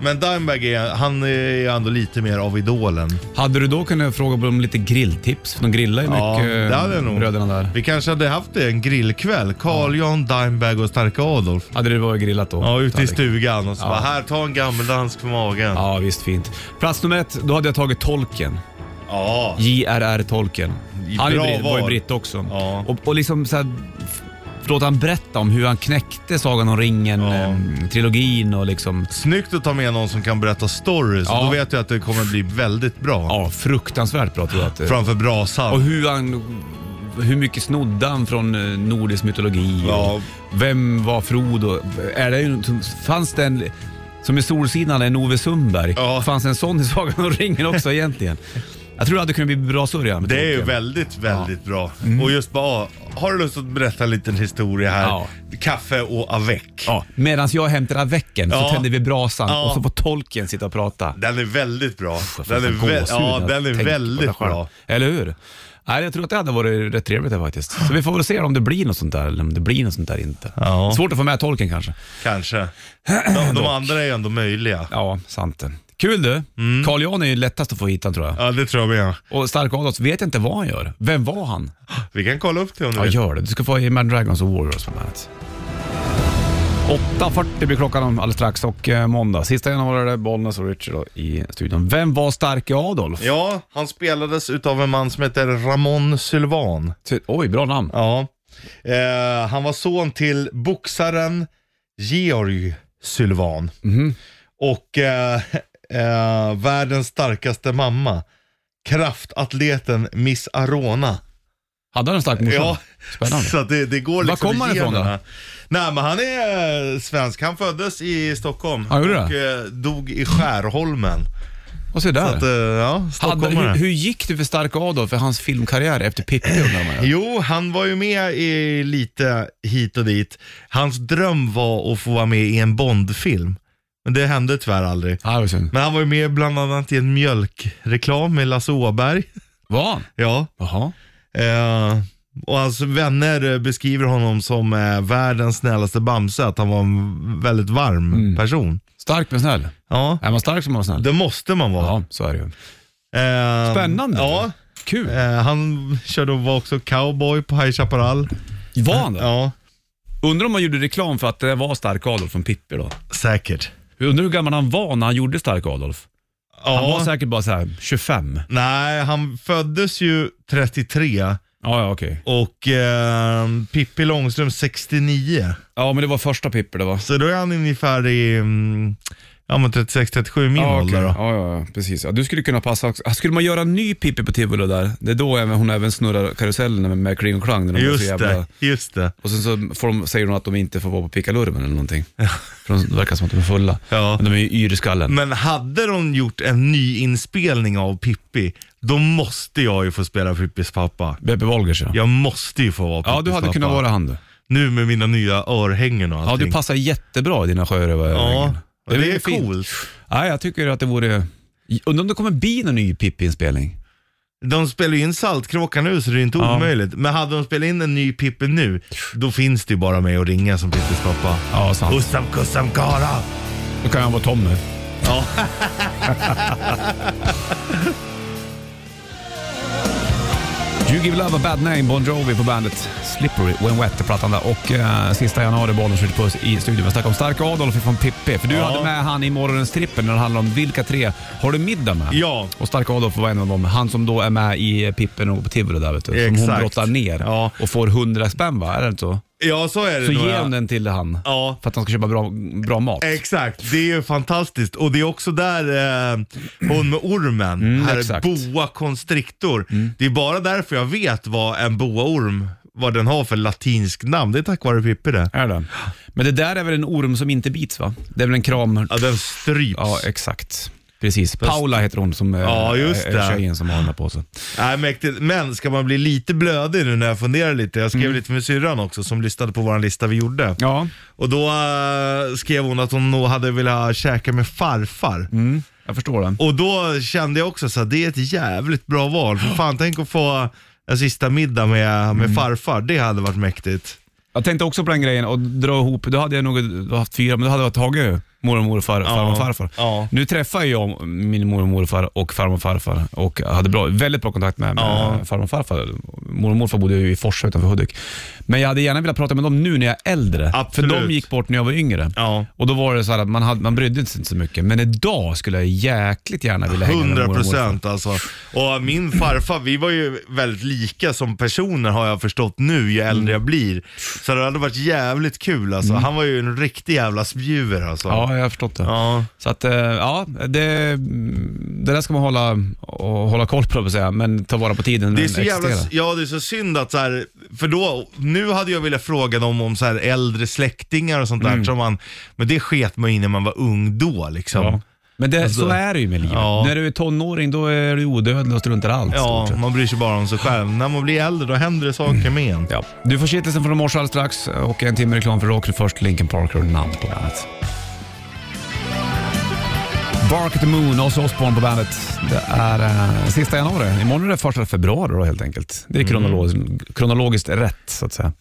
Speaker 3: Men Dimebag är, han är ju ändå lite mer av idolen.
Speaker 2: Hade du då kunnat fråga om lite grilltips? De grillar ju
Speaker 3: Ja,
Speaker 2: mycket,
Speaker 3: det hade jag nog.
Speaker 2: bröderna där.
Speaker 3: Vi kanske hade haft det, en grillkväll. Carl Jan, Dimebag och Starka Adolf.
Speaker 2: Hade det varit grillat då?
Speaker 3: Ja, ute i
Speaker 2: Tallrik.
Speaker 3: stugan och så bara, här ta en gammeldansk för magen. Ja.
Speaker 2: Ja, visst fint. Plats nummer ett, då hade jag tagit tolken. J.R.R. Tolkien.
Speaker 3: Bra
Speaker 2: Han är ju brit- var ju
Speaker 3: val.
Speaker 2: britt också.
Speaker 3: Ja.
Speaker 2: Och, och liksom så här, f- låta han berätta om hur han knäckte Sagan om ringen-trilogin och liksom...
Speaker 3: Snyggt att ta med någon som kan berätta stories.
Speaker 2: Ja.
Speaker 3: Då vet jag att det kommer bli väldigt bra.
Speaker 2: Ja, fruktansvärt bra tror jag att det
Speaker 3: Framför brasan.
Speaker 2: Och hur han... Hur mycket snodde han från eh, nordisk mytologi?
Speaker 3: Ja.
Speaker 2: Och Vem var Frodo? Är det, ju- fanns det en... Som i Solsidan, en Ove Sundberg.
Speaker 3: Ja.
Speaker 2: Fanns det en sån i Sagan om ringen också egentligen? Jag tror det hade kunnat bli bra sörja med
Speaker 3: Det är ju
Speaker 2: Tolkien.
Speaker 3: väldigt, väldigt bra.
Speaker 2: Mm.
Speaker 3: Och just bara, har du lust att berätta en liten historia här?
Speaker 2: Ja.
Speaker 3: Kaffe och avec.
Speaker 2: Ja, medan jag hämtar veckan
Speaker 3: Ja.
Speaker 2: så tänder vi brasan
Speaker 3: Ja.
Speaker 2: och så får tolken sitta och prata.
Speaker 3: Den är väldigt bra.
Speaker 2: Jag får
Speaker 3: Den är,
Speaker 2: nästan
Speaker 3: vä-
Speaker 2: gåshud
Speaker 3: ja,
Speaker 2: när jag
Speaker 3: den är
Speaker 2: tänker på det
Speaker 3: väldigt
Speaker 2: själv.
Speaker 3: bra.
Speaker 2: Eller hur? Nej, jag tror att det hade varit rätt trevligt det faktiskt. Så vi får väl se om det blir något sånt där eller om det blir något sånt där inte.
Speaker 3: Ja.
Speaker 2: Svårt att få med tolken kanske.
Speaker 3: Kanske. De, de andra är ju ändå möjliga.
Speaker 2: Ja, sant det. Kul du.
Speaker 3: Mm.
Speaker 2: Carl Jan är ju lättast att få hit han, tror jag.
Speaker 3: Ja, det tror jag med.
Speaker 2: Och Stark Adolfs vet jag inte vad han gör. Vem var han?
Speaker 3: Vi kan kolla upp det om du
Speaker 2: Ja,
Speaker 3: vill.
Speaker 2: gör det. Du ska få Imagine Dragons och Warriors på bandet. 8.40 blir klockan om alldeles strax och eh, måndag. Sista januari är det Bollnäs och Richard då i studion. Vem var starke Adolf?
Speaker 3: Ja, han spelades utav en man som heter Ramon Sylvan.
Speaker 2: Ty- Oj, bra namn.
Speaker 3: Ja. Eh, han var son till boxaren Georg Sylvan.
Speaker 2: Mhm.
Speaker 3: Och eh, eh, världens starkaste mamma. Kraftatleten Miss Arona.
Speaker 2: Hade han en stark morsa?
Speaker 3: Ja,
Speaker 2: Spännande.
Speaker 3: så att det, det går
Speaker 2: Var
Speaker 3: liksom
Speaker 2: kommer han
Speaker 3: i
Speaker 2: ifrån då?
Speaker 3: generna. Nej men han är eh, svensk. Han föddes i Stockholm.
Speaker 2: Han gjorde
Speaker 3: och eh, dog i Skärholmen.
Speaker 2: Och se
Speaker 3: Så
Speaker 2: där.
Speaker 3: att, eh, ja,
Speaker 2: hade,
Speaker 3: stockholmare.
Speaker 2: hur, hur gick det för starke Adolf för hans filmkarriär efter Pippi undrar man ju.
Speaker 3: Jo, han var ju med i lite hit och dit. Hans dröm var att få vara med i en Bondfilm. Men det hände tyvärr aldrig.
Speaker 2: Ja, det var synd.
Speaker 3: Men han var ju med bland annat i en mjölkreklam med Lasse Åberg.
Speaker 2: Var han?
Speaker 3: Ja.
Speaker 2: Jaha.
Speaker 3: Eh, och hans vänner eh, beskriver honom som eh, världens snällaste Bamse. Att han var en väldigt varm
Speaker 2: Mm.
Speaker 3: person.
Speaker 2: Stark men snäll.
Speaker 3: Ja,
Speaker 2: Är man stark så är man snäll.
Speaker 3: det måste man vara.
Speaker 2: Ja, så är det ju.
Speaker 3: Eh,
Speaker 2: Spännande.
Speaker 3: Ja.
Speaker 2: Kul.
Speaker 3: Eh, han körde och var också cowboy på High Chaparral.
Speaker 2: Var han det?
Speaker 3: Ja,
Speaker 2: Undrar om man gjorde reklam för att det var stark Adolf från Pippi då?
Speaker 3: säkert.
Speaker 2: Undrar hur gammal han var när han gjorde stark Adolf?
Speaker 3: Ja.
Speaker 2: Han var säkert bara så här 25.
Speaker 3: Nej, han föddes ju 33
Speaker 2: Ja, ja okej.
Speaker 3: och eh, Pippi Långström 69.
Speaker 2: Ja, men det var första Pippi det var.
Speaker 3: Så då är han ungefär i mm, ja, 36-37 min
Speaker 2: Ja, okej.
Speaker 3: ålder. Då.
Speaker 2: ja, ja, ja, precis. Ja, du skulle kunna passa också. Ah, Skulle man göra en ny Pippi på Tivoli där, det är då även, hon även snurrar karusellen med, med Kling och Klang. När de är så
Speaker 3: Just
Speaker 2: jävla,
Speaker 3: det, just det.
Speaker 2: Och sen så får de, säger de att de inte får vara på pickalurven eller någonting. För de det verkar som att de är fulla.
Speaker 3: Ja.
Speaker 2: Men de är ju yr i skallen.
Speaker 3: Men hade de gjort en ny inspelning av Pippi, då måste jag ju få spela Pippis pappa.
Speaker 2: Beppe Wolgers ja.
Speaker 3: Jag måste ju få vara Pippis
Speaker 2: Ja, du hade
Speaker 3: pappa.
Speaker 2: kunnat vara han du.
Speaker 3: Nu med mina nya örhängen och
Speaker 2: Ja,
Speaker 3: allting.
Speaker 2: du passar jättebra i dina sjörövare.
Speaker 3: Ja, det,
Speaker 2: väl
Speaker 3: är
Speaker 2: fint.
Speaker 3: coolt.
Speaker 2: Nej, jag tycker att det vore... Undrar om det kommer bli någon ny Pippi-inspelning?
Speaker 3: De spelar ju in Saltkråkan nu så det är inte
Speaker 2: Ja.
Speaker 3: omöjligt. Men hade de spelat in en ny Pippi nu, då finns det ju bara mig att ringa som Pippis pappa.
Speaker 2: Ja, sant.
Speaker 3: Ussam kussam kara!
Speaker 2: Då kan jag vara Tommy.
Speaker 3: Ja.
Speaker 2: You give love a bad name, Bon Jovi på bandet Slippery When Wet är plattan där. Och eh, sista januari, bollen skjuter puss i studion. Vi snackade om Stark Adolf från Pippi. För du hade med han i morgonens trippel när det handlar om vilka tre har du middag med?
Speaker 3: Ja.
Speaker 2: Och Stark Adolf var en av dem. Han som då är med i Pippen och på Tivoli där vet du. Som hon
Speaker 3: Exakt.
Speaker 2: brottar ner
Speaker 3: Ja.
Speaker 2: och får 100 spänn va? Är det inte så?
Speaker 3: Ja, så är det
Speaker 2: Så
Speaker 3: nog,
Speaker 2: ger
Speaker 3: ja.
Speaker 2: hon den till han
Speaker 3: Ja.
Speaker 2: för att han ska köpa bra, bra mat.
Speaker 3: Exakt, det är ju fantastiskt. Och det är också där eh, hon med ormen, här
Speaker 2: Mm, exakt. Mm.
Speaker 3: boa constrictor. Det är bara därför jag vet vad en boaorm vad den har för latinsk namn. Det är tack vare Pippi det.
Speaker 2: Är det? Men det där är väl en orm som inte bits va? Det är väl en kram...
Speaker 3: Ja, den stryps.
Speaker 2: Ja, exakt. Precis. Paula heter hon som eh,
Speaker 3: Ja, just
Speaker 2: är
Speaker 3: det.
Speaker 2: tjejen som har den där på sig.
Speaker 3: Nej, mäktigt. Men ska man bli lite blödig nu när jag funderar lite. Jag skrev lite med syrran också som lyssnade på vår lista vi gjorde.
Speaker 2: Mm. Ja.
Speaker 3: Och då eh, skrev hon att hon nog hade velat käka med farfar.
Speaker 2: Jag förstår det.
Speaker 3: Och då kände jag också så här, det är ett jävligt bra val. För fan, tänk att få en sista middag med,
Speaker 2: Mm.
Speaker 3: med farfar. Det hade varit mäktigt.
Speaker 2: Jag tänkte också på den grejen och dra ihop, då hade jag nog haft fyra, men då hade jag tagit mormor, morfar, farmor och farfar.
Speaker 3: Ja.
Speaker 2: Nu träffar jag min mormor, morfar och farmor och farfar och hade bra, väldigt bra kontakt med, med
Speaker 3: Ja.
Speaker 2: farmor och farfar. Mormor och morfar bodde ju i Forsa utanför Hudik. Men jag hade gärna velat prata med dem nu när jag är äldre.
Speaker 3: Absolut.
Speaker 2: För de gick bort när jag var yngre.
Speaker 3: Ja.
Speaker 2: Och då var det så här att man, hade, man brydde sig inte så mycket. Men idag skulle jag jäkligt gärna vilja hänga med mormor
Speaker 3: 100
Speaker 2: och morfar.
Speaker 3: procent alltså. Och min farfar, vi var ju väldigt lika som personer har jag förstått nu ju
Speaker 2: Mm.
Speaker 3: äldre jag blir. Så det hade varit jävligt kul alltså. Han var ju en riktig jävla spjuver alltså.
Speaker 2: Ja, jag har förstått det.
Speaker 3: Ja.
Speaker 2: Så att, eh, ja, det, det där ska man hålla, och hålla koll på, höll jag på att säga, men ta vara på tiden när
Speaker 3: Det är
Speaker 2: den
Speaker 3: så jävla,
Speaker 2: existerar.
Speaker 3: ja det är så synd att så här, för då, nu hade jag velat fråga dem om så här äldre släktingar och sånt
Speaker 2: Mm.
Speaker 3: där som man, men det sket man ju när man var ung då liksom.
Speaker 2: Ja. Men det,
Speaker 3: Alltså,
Speaker 2: så är det ju med livet.
Speaker 3: ja.
Speaker 2: När du är tonåring då är du odödlig och struntar i allt.
Speaker 3: Ja,
Speaker 2: stort sett.
Speaker 3: man bryr sig bara om sig själv. När man blir äldre då händer det saker med en.
Speaker 2: Ja. Du får kittelsen från morse alldeles strax och en timme reklam för Rocker först, Linkin Parker och namn på bandet. Bark at the Moon, Ozzy Osbourne på bandet. Det är eh, sista januari. Imorgon är det första februari då, helt enkelt. Det är
Speaker 3: Mm.
Speaker 2: kronologiskt, kronologiskt rätt så att säga.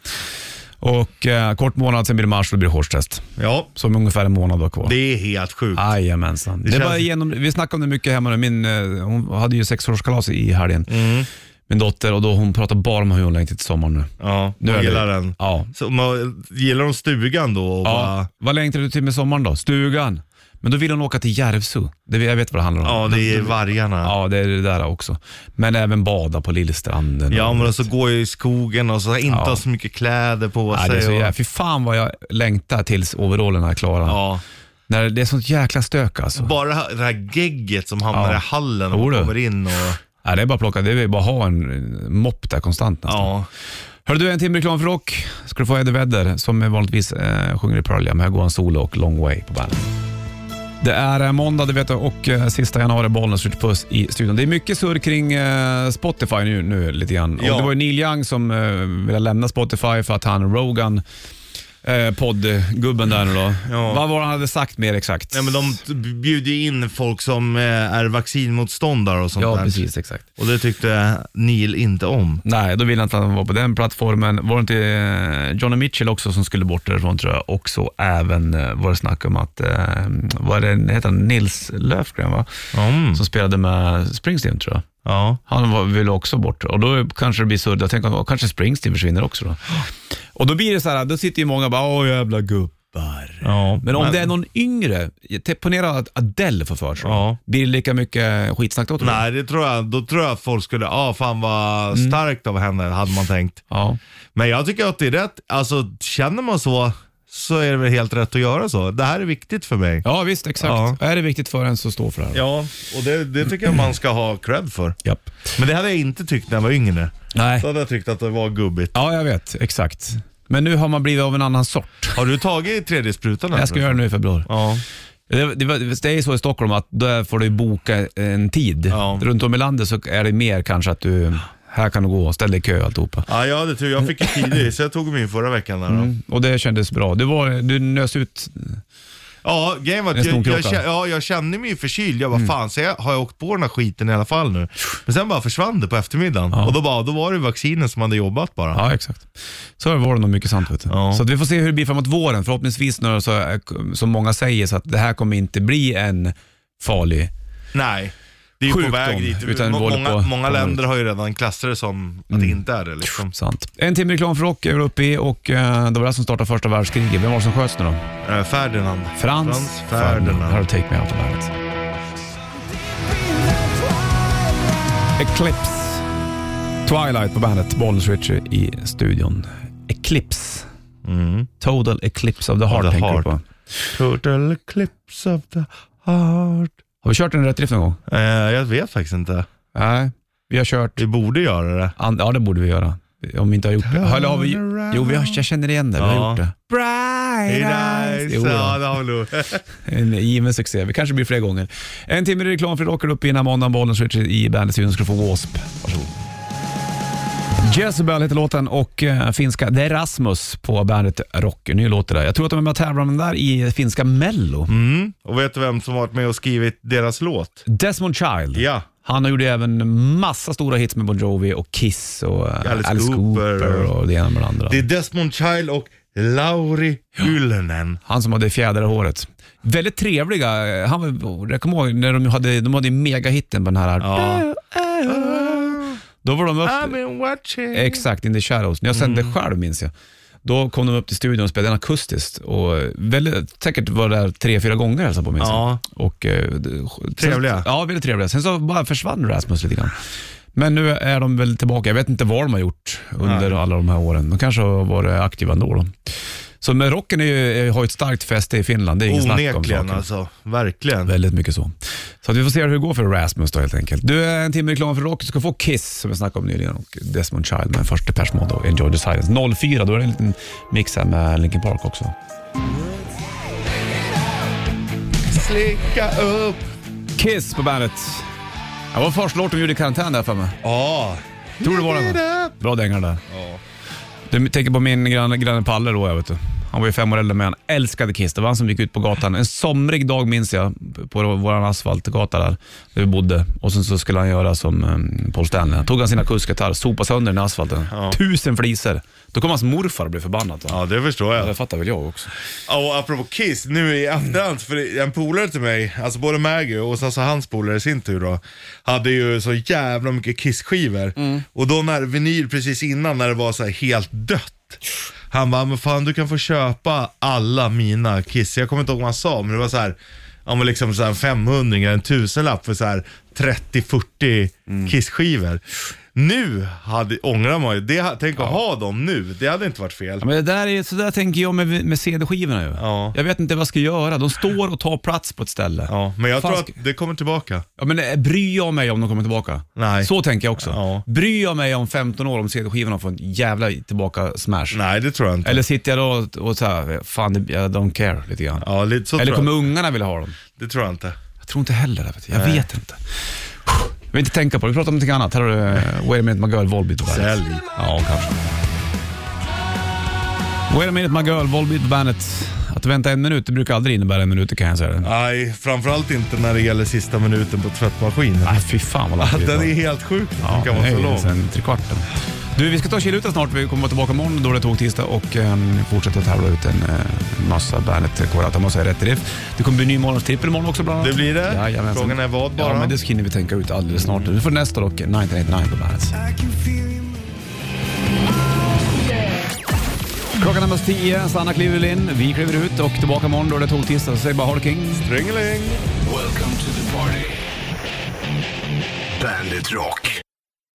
Speaker 2: Och eh, kort månad, sen blir det mars och det blir hårstest.
Speaker 3: Ja,
Speaker 2: Som ungefär en månad var kvar.
Speaker 3: det är helt sjukt.
Speaker 2: Jajamensan. Det
Speaker 3: känns-
Speaker 2: var genom, vi snackade om det mycket hemma nu. Min, eh, hon hade ju sexårskalas i helgen,
Speaker 3: Mm.
Speaker 2: min dotter, och då hon pratar bara om hur hon längtar till sommaren nu.
Speaker 3: Ja,
Speaker 2: Nu är
Speaker 3: man
Speaker 2: det-
Speaker 3: gillar den.
Speaker 2: Ja.
Speaker 3: Så man, gillar de stugan då? Och
Speaker 2: ja.
Speaker 3: bara,
Speaker 2: Vad längtar du till med sommaren då? Stugan. Men då vill hon åka till Järvsö. Det, jag vet vad det handlar om.
Speaker 3: ja, det är vargarna. Ja.
Speaker 2: Ja, det är det där också. Men även bada på Lillstranden. och-
Speaker 3: men och så går jag i skogen och så inte
Speaker 2: Ja.
Speaker 3: ha så mycket kläder på
Speaker 2: Nej,
Speaker 3: sig.
Speaker 2: det är så
Speaker 3: och,
Speaker 2: jävla... Fy fan vad jag längtar tills overallerna är klara.
Speaker 3: ja.
Speaker 2: När det är sånt jäkla stök alltså.
Speaker 3: Bara det här gegget som hamnar
Speaker 2: Ja.
Speaker 3: i hallen och man
Speaker 2: Jo du.
Speaker 3: kommer in och...
Speaker 2: Nej, det är bara att plocka. Det är bara att ha en eh, mopp där konstant nästan.
Speaker 3: Ja.
Speaker 2: Hör du, en timme reklam för rock ska du få Eddie Vedder som vanligtvis eh, sjunger i Pearl Jam. Här går han solo och Long Way på bandet. Det är eh, måndag det vet du och eh, sista januari Bollnäs skjuter puss i studion. Det är mycket surr kring eh, Spotify nu, nu lite grann.
Speaker 3: Ja.
Speaker 2: Och det var ju Neil Young som eh, ville lämna Spotify för att han Rogan eh, poddgubben där nu då.
Speaker 3: Ja.
Speaker 2: Vad var det han hade sagt mer exakt?
Speaker 3: Nej, men de t- bjuder ju in folk som eh, är vaccinmotståndare och sånt
Speaker 2: ja,
Speaker 3: där.
Speaker 2: precis exakt.
Speaker 3: Och det tyckte Neil inte om.
Speaker 2: Nej, då ville inte han vara på den plattformen. Var det inte eh, Johnny Mitchell också som skulle bort därifrån tror jag? Och så även eh, var det snack om att, eh, vad är det, heter han Nils Löfgren va?
Speaker 3: Mm.
Speaker 2: Som spelade med Springsteen tror jag.
Speaker 3: Ja.
Speaker 2: Han var, ville också bort och då kanske det blir surrigt. Jag tänker att kanske Springsteen försvinner också då. Och då blir det så här, då sitter ju många och bara, åh jävla gubbar.
Speaker 3: ja.
Speaker 2: Men om det är någon yngre, te- ponera att Adele får för sig,
Speaker 3: Ja.
Speaker 2: blir det lika mycket skitsnack då tror du?
Speaker 3: Nej, det tror jag, då tror jag att folk skulle, ja ah, fan vad
Speaker 2: Mm.
Speaker 3: starkt av henne, hade man tänkt.
Speaker 2: Ja.
Speaker 3: Men jag tycker att det är rätt, alltså känner man så, så är det väl helt rätt att göra så. Det här är viktigt för mig.
Speaker 2: ja, visst exakt.
Speaker 3: Ja.
Speaker 2: Är det viktigt för en så stå för det här.
Speaker 3: Ja, och det, det tycker jag man ska ha cred för.
Speaker 2: Japp.
Speaker 3: Men det hade jag inte tyckt när jag var yngre.
Speaker 2: Nej.
Speaker 3: Då hade jag tyckt att det var gubbigt.
Speaker 2: Ja, jag vet. Exakt. Men nu har man blivit av en annan sort.
Speaker 3: Har du tagit 3D-sprutan?
Speaker 2: Jag ska göra det nu i februari.
Speaker 3: Ja.
Speaker 2: Det, det, var- det är ju så i Stockholm att där får du boka en tid.
Speaker 3: Ja.
Speaker 2: Runt om i landet så är det mer kanske att du, här kan du gå, ställ dig i kö och alltihopa.
Speaker 3: ja, jag hade tur. Jag fick ju tidigt, så jag tog min förra veckan. Där, då.
Speaker 2: Och det kändes bra. Du, var, du nös ut.
Speaker 3: Ja, grejen var
Speaker 2: En Mm.
Speaker 3: att
Speaker 2: stor
Speaker 3: jag, jag,
Speaker 2: klocka.
Speaker 3: kä- ja, jag kände mig ju förkyld. Jag bara, fan, så jag, har jag åkt på den här skiten i alla fall nu? Men sen bara försvann det på eftermiddagen. Och då, bara, då var det vaccinen som hade jobbat bara.
Speaker 2: Ja, exakt. Så var det nog mycket sant. Vet du.
Speaker 3: Ja.
Speaker 2: Så att vi får se hur det blir framåt våren. Förhoppningsvis, när, eh, så, som många säger, så att det här kommer inte bli en farlig
Speaker 3: Nej. Det är ju
Speaker 2: sjukdom,
Speaker 3: på väg dit.
Speaker 2: utan
Speaker 3: Må-
Speaker 2: både
Speaker 3: många
Speaker 2: på-
Speaker 3: många
Speaker 2: på- Mm.
Speaker 3: länder har ju redan klassat det som att det inte är det. Liksom.
Speaker 2: Sant. En timme reklam för rock är vi uppe i och eh, det var det som startade första världskriget. Vem var det som sköts nu då?
Speaker 3: Eh, Ferdinand.
Speaker 2: Frans, Här har
Speaker 3: Ferdinand.
Speaker 2: du Take Me Out of Bandet. Eclipse. Twilight på bandet. Bollnäs Ritchie i studion. Eclipse. Total Eclipse of the Heart
Speaker 3: Mm. the
Speaker 2: tänker du
Speaker 3: heart.
Speaker 2: på.
Speaker 3: Total eclipse of the heart.
Speaker 2: Har vi kört den i rätt drift någon gång?
Speaker 3: Eh, jag vet faktiskt inte.
Speaker 2: Nej, vi har kört...
Speaker 3: Vi borde göra det.
Speaker 2: An- ja, det borde vi göra. Om vi inte har gjort det. Eller har vi... Jo, vi har, jag känner igen det. Vi har
Speaker 3: Ja.
Speaker 2: gjort det. Bright eyes. Jo,
Speaker 3: Ja,
Speaker 2: ja.
Speaker 3: det har vi nog.
Speaker 2: En given succé. Vi kanske blir fler gånger. En timme reklam för rocker upp innan måndagen. Bollen switcher i Bandet-studion ska få W.A.S.P. Varsågod. Jezebel heter låten och eh, finska Det är Rasmus på bandet Rock. Ny låt det där. Jag tror att de är med och tävlar om den där i finska Mello.
Speaker 3: Mm. Och vet du vem som varit med och skrivit deras låt?
Speaker 2: Desmond Child.
Speaker 3: Ja.
Speaker 2: Han gjorde även massa stora hits med Bon Jovi och Kiss och eh,
Speaker 3: Alice
Speaker 2: Alice, Cooper.
Speaker 3: Cooper
Speaker 2: och det ena med det andra.
Speaker 3: Det är Desmond Child och Lauri Ylönen.
Speaker 2: Han som hade fjädrar i håret. Väldigt trevliga. eh, Han, var- jag kommer ihåg när de hade, de hade ju megahitten på den här.
Speaker 3: Ja.
Speaker 2: Då var de
Speaker 3: I've
Speaker 2: upp,
Speaker 3: been watching.
Speaker 2: exakt, In the Shadows. När jag sände
Speaker 3: Mm.
Speaker 2: själv minns jag. Då kom de upp till studion och spelade akustiskt. Och eh, väldigt, säkert var det där tre, fyra gånger hälsade på minns jag.
Speaker 3: Ja.
Speaker 2: Och, eh, det-
Speaker 3: Trevliga.
Speaker 2: Sen, ja, väldigt trevliga. Sen så bara försvann Rasmus lite grann. Men nu är de väl tillbaka. Jag vet inte vad de har gjort under alla de här åren. De kanske har varit aktiva ändå. Då. Så men rocken är ju, har ju ett starkt fäste i Finland. Det är ingen snack om
Speaker 3: Onekligen
Speaker 2: saken.
Speaker 3: alltså. Verkligen.
Speaker 2: Väldigt mycket så. Så att vi får se hur det går för Rasmus då helt enkelt. Du, en timme reklam för rock. Du ska få Kiss som vi snackade om nyligen och Desmond Child med första Depeche Mode och Enjoy the Silence. 04, då är det en liten mix här med Linkin Park också.
Speaker 3: Slicka upp.
Speaker 2: Kiss på bandet. Det var första låten vi gjorde i karantän där för mig.
Speaker 3: Ja.
Speaker 2: Tror det var den? va? Bra dänga den där. Du tänker på min granne, granne Palle då, jag vet du. Han var ju fem år äldre men han älskade Kiss. Det var han som gick ut på gatan. En somrig dag minns jag, på vår asfaltgata där, där vi bodde. Och sen så skulle han göra som um, Paul Stanley. Han tog han sin akusgitarr, sopade sönder den i asfalten. Tusen flisor. Då kom hans morfar och blev förbannad. Va?
Speaker 3: Ja, det förstår jag.
Speaker 2: Det fattar väl jag också.
Speaker 3: Ja, Och apropå Kiss, nu i efterhand, för en polare till mig, alltså både Maggie och sen så hans polare i sin tur då, hade ju så jävla mycket Kiss-skivor.
Speaker 2: Mm.
Speaker 3: Och då när vinyl precis innan när det var så här helt dött. Han bara, men fan du kan få köpa alla mina Kiss. Jag kommer inte ihåg vad han sa, men det var så här, ja men liksom så här en 500 eller en tusenlapp för så här 30-40
Speaker 2: Mm.
Speaker 3: Kiss-skivor. Nu hade, ångrar man ju, det, tänk att ha dem nu, det hade inte varit fel.
Speaker 2: Ja, Men det där är, så där tänker jag med, med CD-skivorna ju.
Speaker 3: Ja.
Speaker 2: Jag vet inte vad jag ska göra. De står och tar plats på ett ställe.
Speaker 3: Ja, men jag
Speaker 2: Fan,
Speaker 3: tror
Speaker 2: ska-
Speaker 3: att det kommer tillbaka.
Speaker 2: Ja, men eh, bryr jag mig om de kommer tillbaka?
Speaker 3: Nej.
Speaker 2: Så tänker jag också.
Speaker 3: Ja.
Speaker 2: Bryr jag mig om 15 år om CD-skivorna får en jävla tillbaka smash?
Speaker 3: Nej, det tror jag inte.
Speaker 2: Eller sitter jag då och, och så här, fan, det- I don't care lite grann.
Speaker 3: ja, lite så
Speaker 2: Eller
Speaker 3: tror
Speaker 2: kommer
Speaker 3: jag.
Speaker 2: ungarna vilja ha dem?
Speaker 3: Det tror jag inte.
Speaker 2: Jag tror inte heller det. Vet du. Jag vet inte. Jag vill inte tänka på det. Vi pratar om någonting annat. Här har du eh, Wait a minute my girl, Volbeat på bandet.
Speaker 3: Sälj.
Speaker 2: Ja, kanske. Wait a minute my girl, Volbeat på bandet. Att vänta en minut, det brukar aldrig innebära en minut kan jag säga. Nej,
Speaker 3: Nej, framförallt inte när det gäller sista minuten på tvättmaskinen.
Speaker 2: fy fan vad långt det
Speaker 3: Den
Speaker 2: tar.
Speaker 3: är helt sjuk att den kan
Speaker 2: nej,
Speaker 3: vara så lång.
Speaker 2: Sen trekvarten. Du, vi ska ta Kiluta snart. Vi kommer tillbaka imorgon då det är tågtisdag och um, fortsätta tävla ut en eh, massa Bandet Korata. Man säger rätt riff. Det kommer bli ny morgonstrippel imorgon också bland annat.
Speaker 3: Det blir det.
Speaker 2: Jajamensan.
Speaker 3: Frågan är vad bara.
Speaker 2: Ja, men det ska vi tänka ut alldeles snart. Du får nästa rock, 1989 på Bandet. Klockan är närmast tio, Sanna kliver väl in, vi kliver ut och tillbaka imorgon då det är tågtisdag. Så säg bara ha det king.
Speaker 3: Ringeling.
Speaker 1: Welcome to the party. Bandit Rock.